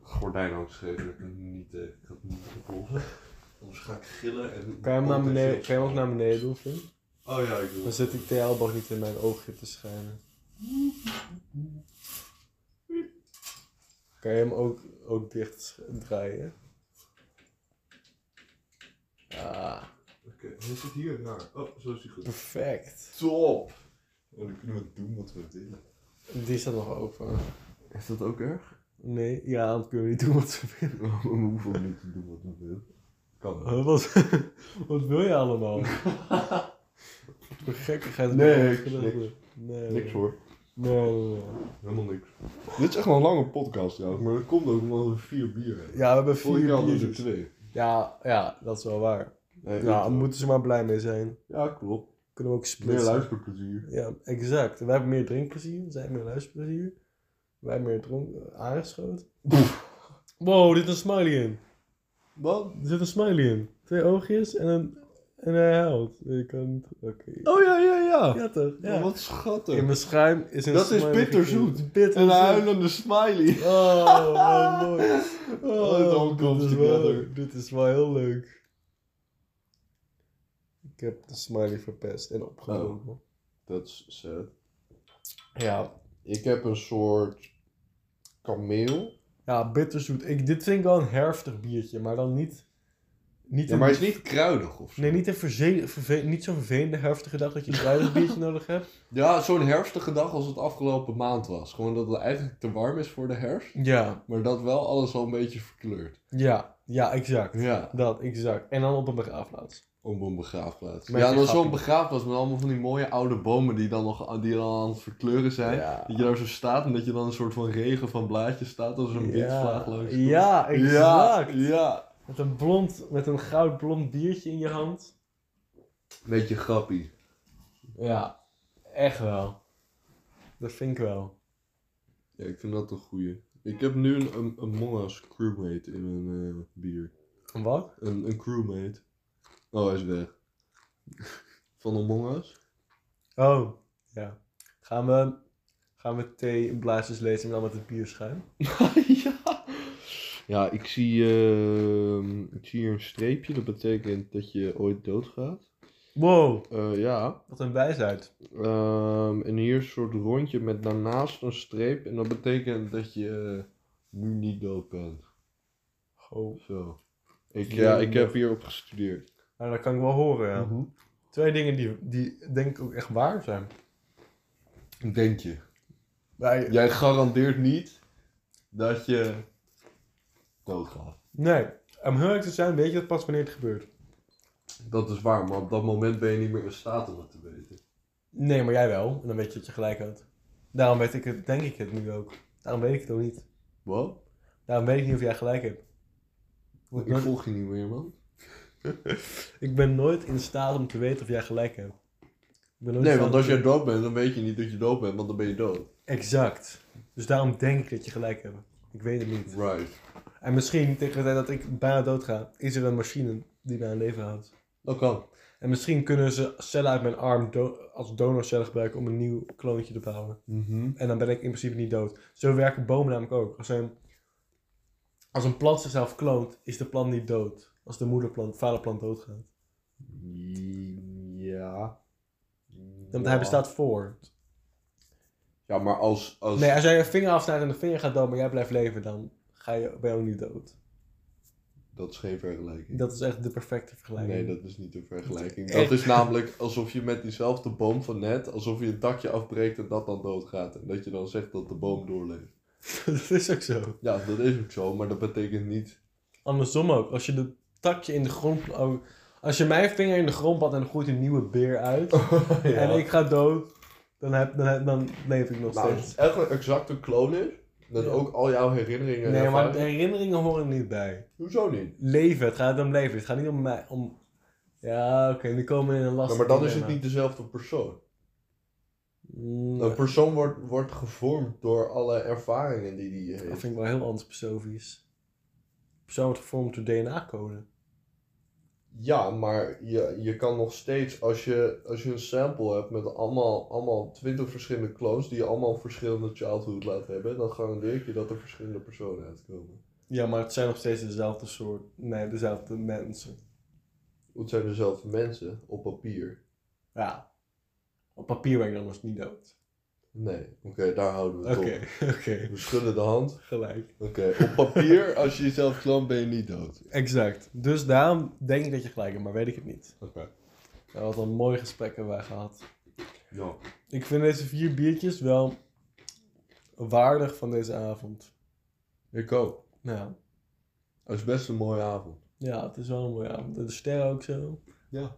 Speaker 1: gordijn hangt scheef, ik kan het niet, eh, ik kan het niet oplossen. Anders ga ik gillen en...
Speaker 2: Kan je hem, naar beneden, kan je hem ook naar beneden doen, Finn?
Speaker 1: Oh ja, ik doe
Speaker 2: Dan
Speaker 1: het.
Speaker 2: zit die TL-boog niet in mijn oogje te schijnen. Kan je hem ook, ook dicht sch- draaien? Ah,
Speaker 1: Oké, hoe zit hier naar? Oh, zo is hij goed.
Speaker 2: perfect.
Speaker 1: Top! En dan kunnen we doen wat we willen.
Speaker 2: Die staat nog open.
Speaker 1: Is dat ook erg?
Speaker 2: Nee, ja, dan kunnen we niet doen wat we willen.
Speaker 1: [laughs] we hoeven niet te doen wat we willen. Kan wel.
Speaker 2: Huh, Wat, [laughs] wat wil je allemaal?
Speaker 1: [laughs]
Speaker 2: Wat voor gekkigheid.
Speaker 1: Nee,
Speaker 2: wil je
Speaker 1: niks,
Speaker 2: doen? Nee,
Speaker 1: Niks hoor.
Speaker 2: Nee, nee, nee.
Speaker 1: Helemaal niks. Dit is echt wel een lange podcast trouwens, maar dat komt ook omdat we vier bier hebben.
Speaker 2: Ja, we hebben
Speaker 1: Vorige keer
Speaker 2: vier
Speaker 1: hadden we er
Speaker 2: biertjes.
Speaker 1: twee.
Speaker 2: Ja, ja, dat is wel waar.
Speaker 1: Nee,
Speaker 2: Ja,
Speaker 1: ik-
Speaker 2: daar moeten ze maar blij mee zijn.
Speaker 1: ja, klopt.
Speaker 2: Kunnen we ook
Speaker 1: Meer
Speaker 2: splitsen.
Speaker 1: luisterplezier.
Speaker 2: Ja, exact. Wij hebben meer drinkplezier, zij meer luisterplezier. Wij hebben meer dronk aangeschoten. Wow, er zit een smiley in.
Speaker 1: Wat?
Speaker 2: Er zit een smiley in. Twee oogjes en een... En hij huilt. Je kan niet... Oké.
Speaker 1: Oh ja, ja, ja.
Speaker 2: Ja toch? Ja.
Speaker 1: Oh, wat
Speaker 2: In
Speaker 1: schattig.
Speaker 2: mijn schuim is een
Speaker 1: Dat is
Speaker 2: smiley
Speaker 1: bitterzoet.
Speaker 2: gekregen. Bitterzoet.
Speaker 1: Een huilende [laughs] smiley.
Speaker 2: Oh,
Speaker 1: [laughs]
Speaker 2: wat mooi.
Speaker 1: Oh, het all comes
Speaker 2: dit is
Speaker 1: together.
Speaker 2: wel, dit is wel heel leuk. Ik heb de smiley verpest en
Speaker 1: Oh.
Speaker 2: opgenomen.
Speaker 1: Dat is sad.
Speaker 2: Ja.
Speaker 1: Ik heb een soort kameel.
Speaker 2: Ja, bitterzoet. Ik, dit vind ik wel een herftig biertje, maar dan niet... niet
Speaker 1: Ja,
Speaker 2: een-
Speaker 1: maar het is niet kruidig of zo.
Speaker 2: Nee, niet, een verze- verve- niet zo'n vervelende herftige dag dat je een kruidig
Speaker 1: [laughs]
Speaker 2: biertje nodig hebt.
Speaker 1: Ja, zo'n herfstige dag als het afgelopen maand was. Gewoon dat het eigenlijk te warm is voor de herfst.
Speaker 2: Ja,
Speaker 1: Maar dat wel alles al een beetje verkleurt.
Speaker 2: ja, ja, exact.
Speaker 1: Ja,
Speaker 2: Dat, exact. En dan op een begraafplaats.
Speaker 1: op een begraafplaats.
Speaker 2: Met
Speaker 1: ja,
Speaker 2: die
Speaker 1: dan zo'n
Speaker 2: grappie.
Speaker 1: begraafplaats met allemaal van die mooie oude bomen die dan nog die dan aan het verkleuren zijn.
Speaker 2: Ja.
Speaker 1: Dat je daar zo staat en dat je dan een soort van regen van blaadjes staat als een bitvlaag langs
Speaker 2: Ja,
Speaker 1: komt. ja,
Speaker 2: exact.
Speaker 1: ja.
Speaker 2: Met een blond, met een goudblond biertje in je hand.
Speaker 1: Beetje grappie.
Speaker 2: Ja, echt wel. Dat vind ik wel.
Speaker 1: Ja, ik vind dat een goeie. Ik heb nu een, een Among Us crewmate in mijn eh, bier.
Speaker 2: Wat?
Speaker 1: Een, een crewmate. Oh, hij is weg. [laughs] Van Among Us?
Speaker 2: Oh, ja. Gaan we, gaan we thee en blaasjes lezen en dan met het bierschuim?
Speaker 1: [laughs] ja. Ja, ik zie, ehm, ik zie hier een streepje. Dat betekent dat je ooit doodgaat.
Speaker 2: Wow,
Speaker 1: Eh, ja.
Speaker 2: wat een wijsheid.
Speaker 1: Ehm, en hier een soort rondje met daarnaast een streep. En dat betekent dat je eh, nu niet dood bent.
Speaker 2: Goh.
Speaker 1: Zo. Ik, ja, ik heb hierop gestudeerd.
Speaker 2: Nou, dat kan ik wel horen, ja.
Speaker 1: Mhm.
Speaker 2: Twee dingen die, die denk ik ook echt waar zijn.
Speaker 1: Denk je.
Speaker 2: Wij-
Speaker 1: Jij garandeert niet dat je doodgaat.
Speaker 2: Nee, om heel erg te zijn weet je dat pas wanneer het gebeurt.
Speaker 1: Dat is waar, maar op dat moment ben je niet meer in staat om het te weten.
Speaker 2: Nee, maar jij wel. En dan weet je dat je gelijk had. Daarom weet ik het, denk ik het nu ook. Daarom weet ik het ook niet.
Speaker 1: Wat?
Speaker 2: Daarom weet ik niet of jij gelijk hebt. Want
Speaker 1: Ik
Speaker 2: nooit-
Speaker 1: volg je niet meer, man.
Speaker 2: Ik ben nooit in staat om te weten of jij gelijk hebt. Ik ben nooit
Speaker 1: Nee,
Speaker 2: in
Speaker 1: want
Speaker 2: staat om
Speaker 1: als jij
Speaker 2: te-
Speaker 1: dood bent, dan weet je niet dat je dood bent, want dan ben je dood.
Speaker 2: Exact. Dus daarom denk ik dat je gelijk hebt. Ik weet het niet.
Speaker 1: Right.
Speaker 2: En misschien tegen de tijd dat ik bijna dood ga, is er een machine die mij in leven houdt.
Speaker 1: Dat kan.
Speaker 2: En misschien kunnen ze cellen uit mijn arm do- als donorcellen gebruiken om een nieuw kloontje te bouwen. En dan ben ik in principe niet dood. Zo werken bomen namelijk ook. Als een, als een plant zichzelf kloont, is de plant niet dood. Als de moederplant, vaderplant doodgaat.
Speaker 1: Ja.
Speaker 2: Want hij bestaat voort.
Speaker 1: Ja, maar als... als...
Speaker 2: Nee, als jij je vinger afsnijdt en de vinger gaat dood, maar jij blijft leven, dan ga je, ben je ook niet dood.
Speaker 1: Dat is geen vergelijking.
Speaker 2: Dat is echt de perfecte vergelijking. [laughs]
Speaker 1: Nee, dat is niet een vergelijking.
Speaker 2: Echt.
Speaker 1: Dat is namelijk alsof je met diezelfde boom van net, alsof je een takje afbreekt en dat dan doodgaat. En dat je dan zegt dat de boom doorleeft.
Speaker 2: dat is ook zo.
Speaker 1: Ja, dat is ook zo, maar dat betekent
Speaker 2: [laughs]
Speaker 1: niet.
Speaker 2: Andersom ook, als je de takje in de grond... oh, als je mijn vinger in de grond plant en er groeit een nieuwe beer uit
Speaker 1: Oh,
Speaker 2: en ik ga dood, dan, heb, dan, heb- dan leef ik nog
Speaker 1: nou, als
Speaker 2: steeds.
Speaker 1: het echt een exacte kloon is, dat
Speaker 2: Ja.
Speaker 1: ook al jouw herinneringen.
Speaker 2: Nee, maar de
Speaker 1: ervaren-
Speaker 2: herinneringen horen er niet bij.
Speaker 1: Hoezo niet?
Speaker 2: Leven, het gaat om leven. Het gaat niet om mij. Om... Ja, oké, nu komen we in een
Speaker 1: Ja,
Speaker 2: lastig
Speaker 1: maar dan is het niet
Speaker 2: dilemma.
Speaker 1: dezelfde persoon.
Speaker 2: Mm,
Speaker 1: Een persoon wordt, wordt gevormd door alle ervaringen die die
Speaker 2: Dat
Speaker 1: heeft.
Speaker 2: vind ik wel heel antipersofisch. Persoon wordt gevormd door DNA-code.
Speaker 1: Ja, maar je, je kan nog steeds, als je, als je een sample hebt met allemaal, allemaal 20 verschillende clones die je allemaal verschillende childhood laat hebben, dan garandeer ik je dat er verschillende personen uitkomen.
Speaker 2: Ja, maar het zijn nog steeds dezelfde soort. Nee, dezelfde mensen.
Speaker 1: Het zijn dezelfde mensen op papier.
Speaker 2: Ja. Op papier ben ik dan nog niet dood.
Speaker 1: Nee, oké, daar houden we
Speaker 2: Oké, [laughs]
Speaker 1: het op.
Speaker 2: oké.
Speaker 1: We schudden de hand.
Speaker 2: Gelijk.
Speaker 1: Oké, op papier, als je jezelf klant, ben je niet dood.
Speaker 2: Exact. Dus daarom denk ik dat je gelijk hebt, maar weet ik het niet.
Speaker 1: Oké.
Speaker 2: Ja, wat een mooi gesprek hebben wij gehad.
Speaker 1: Ja.
Speaker 2: Ik vind deze vier biertjes wel waardig van deze avond.
Speaker 1: Ik ook.
Speaker 2: Nou,
Speaker 1: Het is best een mooie avond.
Speaker 2: ja, het is wel een mooie avond. En de sterren ook zo.
Speaker 1: Ja.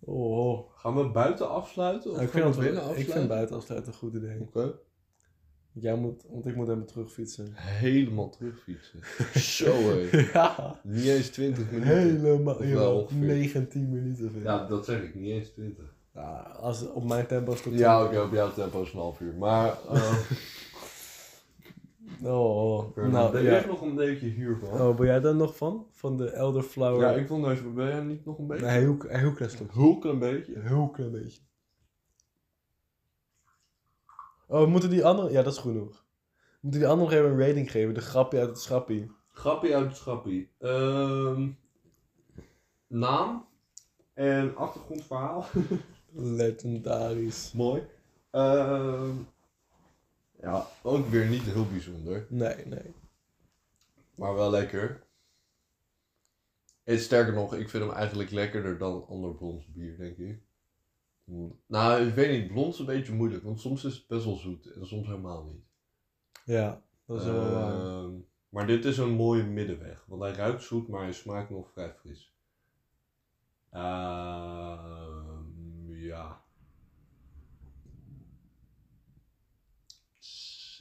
Speaker 2: Oh, oh.
Speaker 1: Gaan we buiten afsluiten? Of
Speaker 2: Ik
Speaker 1: gaan
Speaker 2: vind,
Speaker 1: we
Speaker 2: dat wel-
Speaker 1: binnen
Speaker 2: ik
Speaker 1: afsluiten?
Speaker 2: vind buiten afsluiten een goed idee.
Speaker 1: Oké.
Speaker 2: Jij moet, want ik moet even terugfietsen.
Speaker 1: Helemaal terugfietsen. [laughs] Zo hé.
Speaker 2: [laughs] Ja,
Speaker 1: Niet eens 20 minuten.
Speaker 2: helemaal.
Speaker 1: Of wel
Speaker 2: joh,
Speaker 1: ongeveer.
Speaker 2: 19 minuten vind ik.
Speaker 1: Ja, dat zeg ik. Niet eens 20.
Speaker 2: Ja, als, op mijn tempo is het
Speaker 1: Ja, oké, op jouw tempo is een half uur. Maar, eh
Speaker 2: Oh, oh.
Speaker 1: [laughs] nou,
Speaker 2: nou,
Speaker 1: ben
Speaker 2: ja.
Speaker 1: jij nog een beetje hiervan?
Speaker 2: Oh, ben jij daar nog van? Van de elderflower?
Speaker 1: Ja, ik vond deze, ben jij niet nog een beetje?
Speaker 2: Nee, heel, heel klein stukje.
Speaker 1: Hulken een beetje.
Speaker 2: Heel klein beetje. Oh, we moeten die andere... Ja, dat is genoeg. We moeten die andere nog even een rating geven. De grapje uit het schappie.
Speaker 1: Grappie uit het schappie. Ehm, naam en achtergrondverhaal.
Speaker 2: Legendarisch.
Speaker 1: Mooi. Ehm, ja, ook weer niet heel bijzonder,
Speaker 2: Nee, nee.
Speaker 1: maar wel lekker. En sterker nog, ik vind hem eigenlijk lekkerder dan ander blonds bier, denk ik. Mm. Nou, ik weet niet, blond is een beetje moeilijk, want soms is het best wel zoet en soms helemaal niet.
Speaker 2: Ja, dat is wel waar.
Speaker 1: Ehm, maar dit is een mooie middenweg. Want hij ruikt zoet, maar hij smaakt nog vrij fris. Ehm, ja.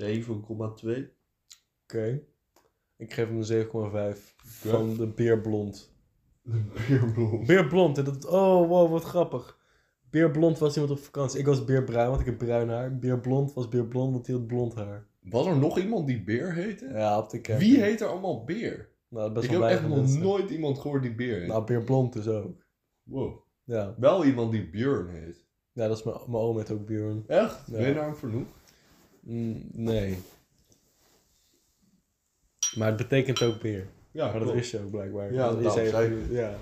Speaker 1: 7,2.
Speaker 2: [laughs] Oké. Ik geef hem een 7,5. Van de Beerblond.
Speaker 1: Bierblond.
Speaker 2: Beerblond. en Dat, oh, wow, wat grappig. Beerblond was iemand op vakantie. Ik was beerbruin, want ik heb bruin haar. Beerblond was beerblond, want hij had blond haar.
Speaker 1: Was er nog iemand die Beer heette?
Speaker 2: Ja, op de kerk.
Speaker 1: Wie heet er allemaal Beer?
Speaker 2: Nou, best
Speaker 1: ik
Speaker 2: wel
Speaker 1: heb echt
Speaker 2: weinig
Speaker 1: nog
Speaker 2: mensen.
Speaker 1: nooit iemand gehoord die Beer heet.
Speaker 2: Nou, beerblond dus ook.
Speaker 1: Wow.
Speaker 2: Ja.
Speaker 1: Wel iemand die Björn heet.
Speaker 2: Ja, dat is mijn, mijn oom heet ook Björn.
Speaker 1: Echt?
Speaker 2: Ja.
Speaker 1: Ben je daar aan vernoemd?
Speaker 2: Mm, nee. Maar het betekent ook beer.
Speaker 1: Ja,
Speaker 2: Maar dat
Speaker 1: klopt.
Speaker 2: wist je ook blijkbaar.
Speaker 1: Ja,
Speaker 2: dat
Speaker 1: dat
Speaker 2: is
Speaker 1: zei
Speaker 2: even- Ja.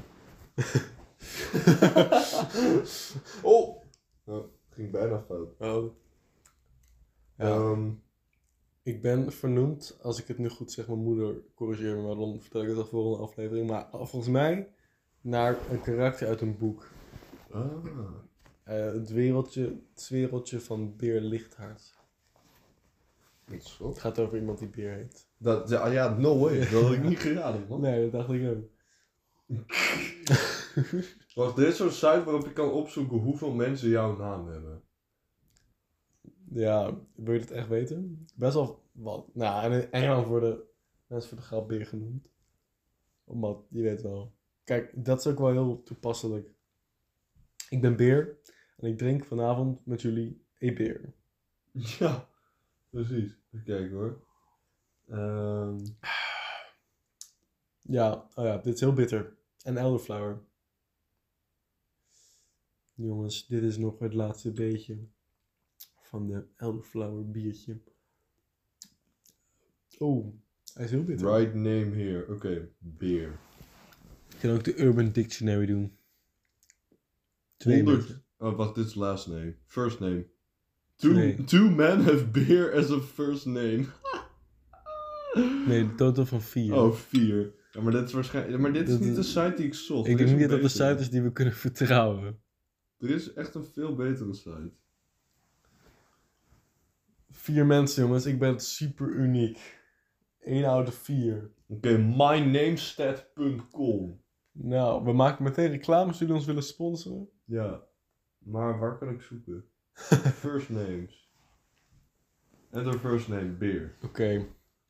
Speaker 1: Oh! ging bijna fout. Oh.
Speaker 2: Ja. Oh. Ik ben vernoemd, als ik het nu goed zeg, mijn moeder corrigeert me, maar dan vertel ik het al volgende aflevering. Maar volgens mij naar een karakter uit een boek.
Speaker 1: Ah,
Speaker 2: Eh, het, wereldje, het wereldje van Beer Lichthaart. Het gaat over iemand die Beer heet.
Speaker 1: Dat, ja, ah, ja, no way. Dat had ik niet geraden, man.
Speaker 2: Nee, dat dacht ik ook.
Speaker 1: Wacht, dit is zo'n site waarop je kan opzoeken hoeveel mensen jouw naam
Speaker 2: [laughs]
Speaker 1: hebben.
Speaker 2: Ja, wil je dat echt weten? Best wel wat. Nou, en in Engeland worden mensen voor de grap beer genoemd. Omdat, je weet wel. Kijk, dat is ook wel heel toepasselijk. Ik ben beer en ik drink vanavond met jullie een beer.
Speaker 1: Ja, precies. Even kijken hoor. Ehm,
Speaker 2: Ja, oh ja, dit is heel bitter. En elderflower. Jongens, dit is nog het laatste beetje van de elderflower biertje. Oh, hij is heel bitter.
Speaker 1: right name here. Oké, beer.
Speaker 2: Ik kan ook de Urban Dictionary doen.
Speaker 1: 100. Oh, wacht, dit is last name. First name. Two,
Speaker 2: Nee.
Speaker 1: two men have beer as a first name.
Speaker 2: [laughs] Nee, de totaal van 4.
Speaker 1: Oh, vier. Ja, maar dit is waarschijnlijk. Maar dit is
Speaker 2: Dat-
Speaker 1: niet de site die ik zocht.
Speaker 2: ik
Speaker 1: Er is
Speaker 2: denk niet
Speaker 1: een
Speaker 2: dat de
Speaker 1: betere.
Speaker 2: site is die we kunnen [laughs] vertrouwen.
Speaker 1: Er is echt een veel betere site.
Speaker 2: Vier mensen, jongens. Ik ben super uniek. 1 out of 4.
Speaker 1: Oké, mynamestat.com.
Speaker 2: Nou, we maken meteen reclames jullie ons willen sponsoren.
Speaker 1: Ja. Maar waar kan ik
Speaker 2: [laughs]
Speaker 1: zoeken? first names. Enter first name, beer.
Speaker 2: Oké.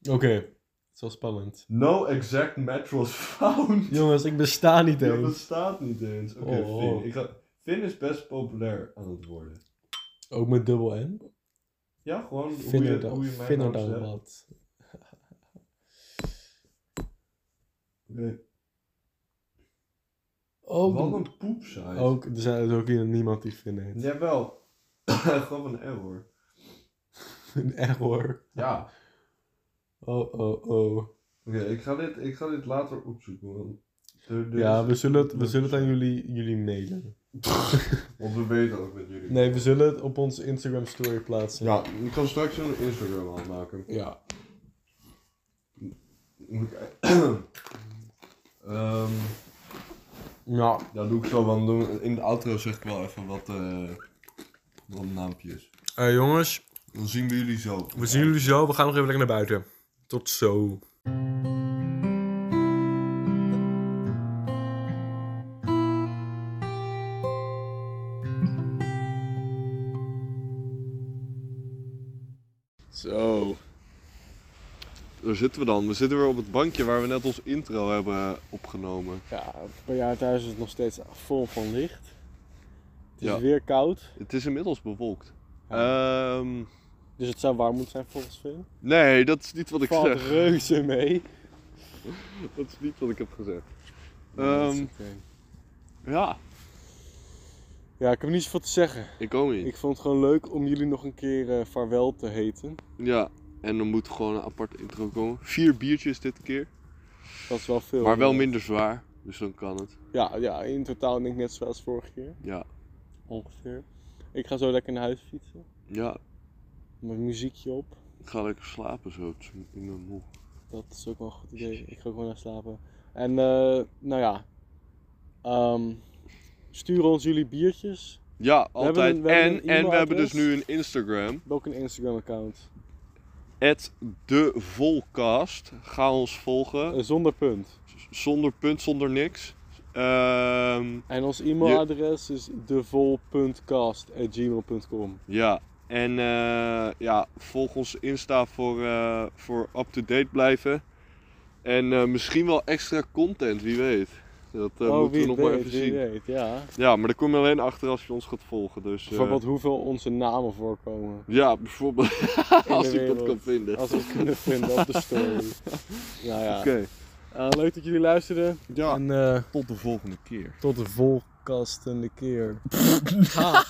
Speaker 2: Oké. Het is wel spannend.
Speaker 1: No exact match was
Speaker 2: [laughs]
Speaker 1: found. [laughs]
Speaker 2: Jongens, ik besta niet
Speaker 1: dat
Speaker 2: eens.
Speaker 1: bestaat niet eens. Oké,
Speaker 2: Oh.
Speaker 1: Finn. Ik ga... Finn is best populair aan het worden.
Speaker 2: Ook met dubbel N.
Speaker 1: Ja, gewoon hoe
Speaker 2: Vind er
Speaker 1: je, hoe
Speaker 2: dan,
Speaker 1: je mijn
Speaker 2: vind er
Speaker 1: naam
Speaker 2: dan
Speaker 1: zegt.
Speaker 2: wat.
Speaker 1: Oké. Wat
Speaker 2: Ook,
Speaker 1: een poepsite.
Speaker 2: ook, er zijn dus ook hier niemand die Finn heet.
Speaker 1: Jawel. [coughs] gewoon een error.
Speaker 2: [laughs] Een error.
Speaker 1: Ja.
Speaker 2: Oh, oh, oh.
Speaker 1: Oké, ik ga dit, ik ga dit later opzoeken. Want er- er
Speaker 2: Ja,
Speaker 1: is-
Speaker 4: Dus-
Speaker 2: we zullen het, we zullen het aan jullie, jullie mailen.
Speaker 5: Want we weten ook met jullie.
Speaker 4: Nee, we zullen het op onze Instagram story plaatsen.
Speaker 5: Ja, ik kan straks een Instagram aanmaken.
Speaker 4: Ja.
Speaker 5: Moet ik- [clears throat] Ehm,
Speaker 4: Ja.
Speaker 5: ja, doe ik zo, want doen- in de outro zeg ik wel even wat, eh, wat naampjes.
Speaker 4: Eh, jongens,
Speaker 5: Dan zien we jullie zo.
Speaker 4: we zien jullie zo. We gaan nog even lekker naar buiten. Tot zo.
Speaker 1: Zo. Daar zitten we dan. We zitten weer op het bankje waar we net ons intro hebben eh, opgenomen.
Speaker 2: Ja, bij jou thuis is het nog steeds vol van licht. Het is
Speaker 1: Ja.
Speaker 2: weer koud,
Speaker 1: Het is inmiddels bewolkt. Ehm,
Speaker 2: dus het zou warm moeten zijn volgens Finn.
Speaker 1: nee, dat is niet wat ik
Speaker 2: Valt
Speaker 1: zeg.
Speaker 2: reuze mee.
Speaker 1: Dat is niet wat ik heb gezegd.
Speaker 2: Dat is
Speaker 1: Ehm,
Speaker 2: oké.
Speaker 1: ja,
Speaker 2: Ja, ik heb niet zoveel te zeggen.
Speaker 1: ik ook niet.
Speaker 2: Ik vond het gewoon leuk om jullie nog een keer eh, vaarwel te heten.
Speaker 1: Ja, en dan moet gewoon een aparte intro komen. Vier biertjes dit keer,
Speaker 2: Dat is wel veel.
Speaker 1: maar wel minder zwaar. Dus dan kan het.
Speaker 2: Ja, ja, in totaal denk ik net zoals vorige keer.
Speaker 1: Ja,
Speaker 2: Ongeveer. Ik ga zo lekker naar huis fietsen.
Speaker 1: ja.
Speaker 2: Mijn muziekje op.
Speaker 1: Ik ga lekker slapen zo. Het is- Ik ben moe.
Speaker 2: Dat is ook wel een goed idee. Ik ga gewoon naar slapen. En eh, nou ja. Ehm stuur ons jullie biertjes.
Speaker 1: Ja,
Speaker 2: hebben
Speaker 1: altijd.
Speaker 2: een- we hebben
Speaker 1: en
Speaker 2: een
Speaker 1: en we hebben dus
Speaker 2: e-mailadres.
Speaker 1: nu een Instagram.
Speaker 2: We hebben ook een Instagram account.
Speaker 1: de Volcast. Ga ons volgen.
Speaker 2: Eh, zonder punt.
Speaker 1: Zonder punt, zonder niks. Ehm,
Speaker 2: En ons e-mailadres is devol.cast.gmail.com
Speaker 1: ja. En eh, ja, volg ons Insta voor, eh, voor up-to-date blijven. En eh, misschien wel extra content, wie weet. Dat eh, moeten we nog maar even
Speaker 2: Oh, wie
Speaker 1: zien.
Speaker 2: weet, ja.
Speaker 1: Ja, maar daar kom je alleen achter als je ons gaat volgen. Dus, eh,
Speaker 2: Bijvoorbeeld hoeveel onze namen voorkomen.
Speaker 1: Ja, bijvoorbeeld. [laughs] als ik dat
Speaker 2: wereld.
Speaker 1: kan vinden.
Speaker 2: Als we het kunnen vinden op de
Speaker 1: [laughs]
Speaker 2: story. nou ja.
Speaker 1: Oké.
Speaker 2: Eh, leuk dat jullie luisterden.
Speaker 1: Ja,
Speaker 2: En eh,
Speaker 1: tot de volgende keer.
Speaker 2: tot de volkastende keer. Ha.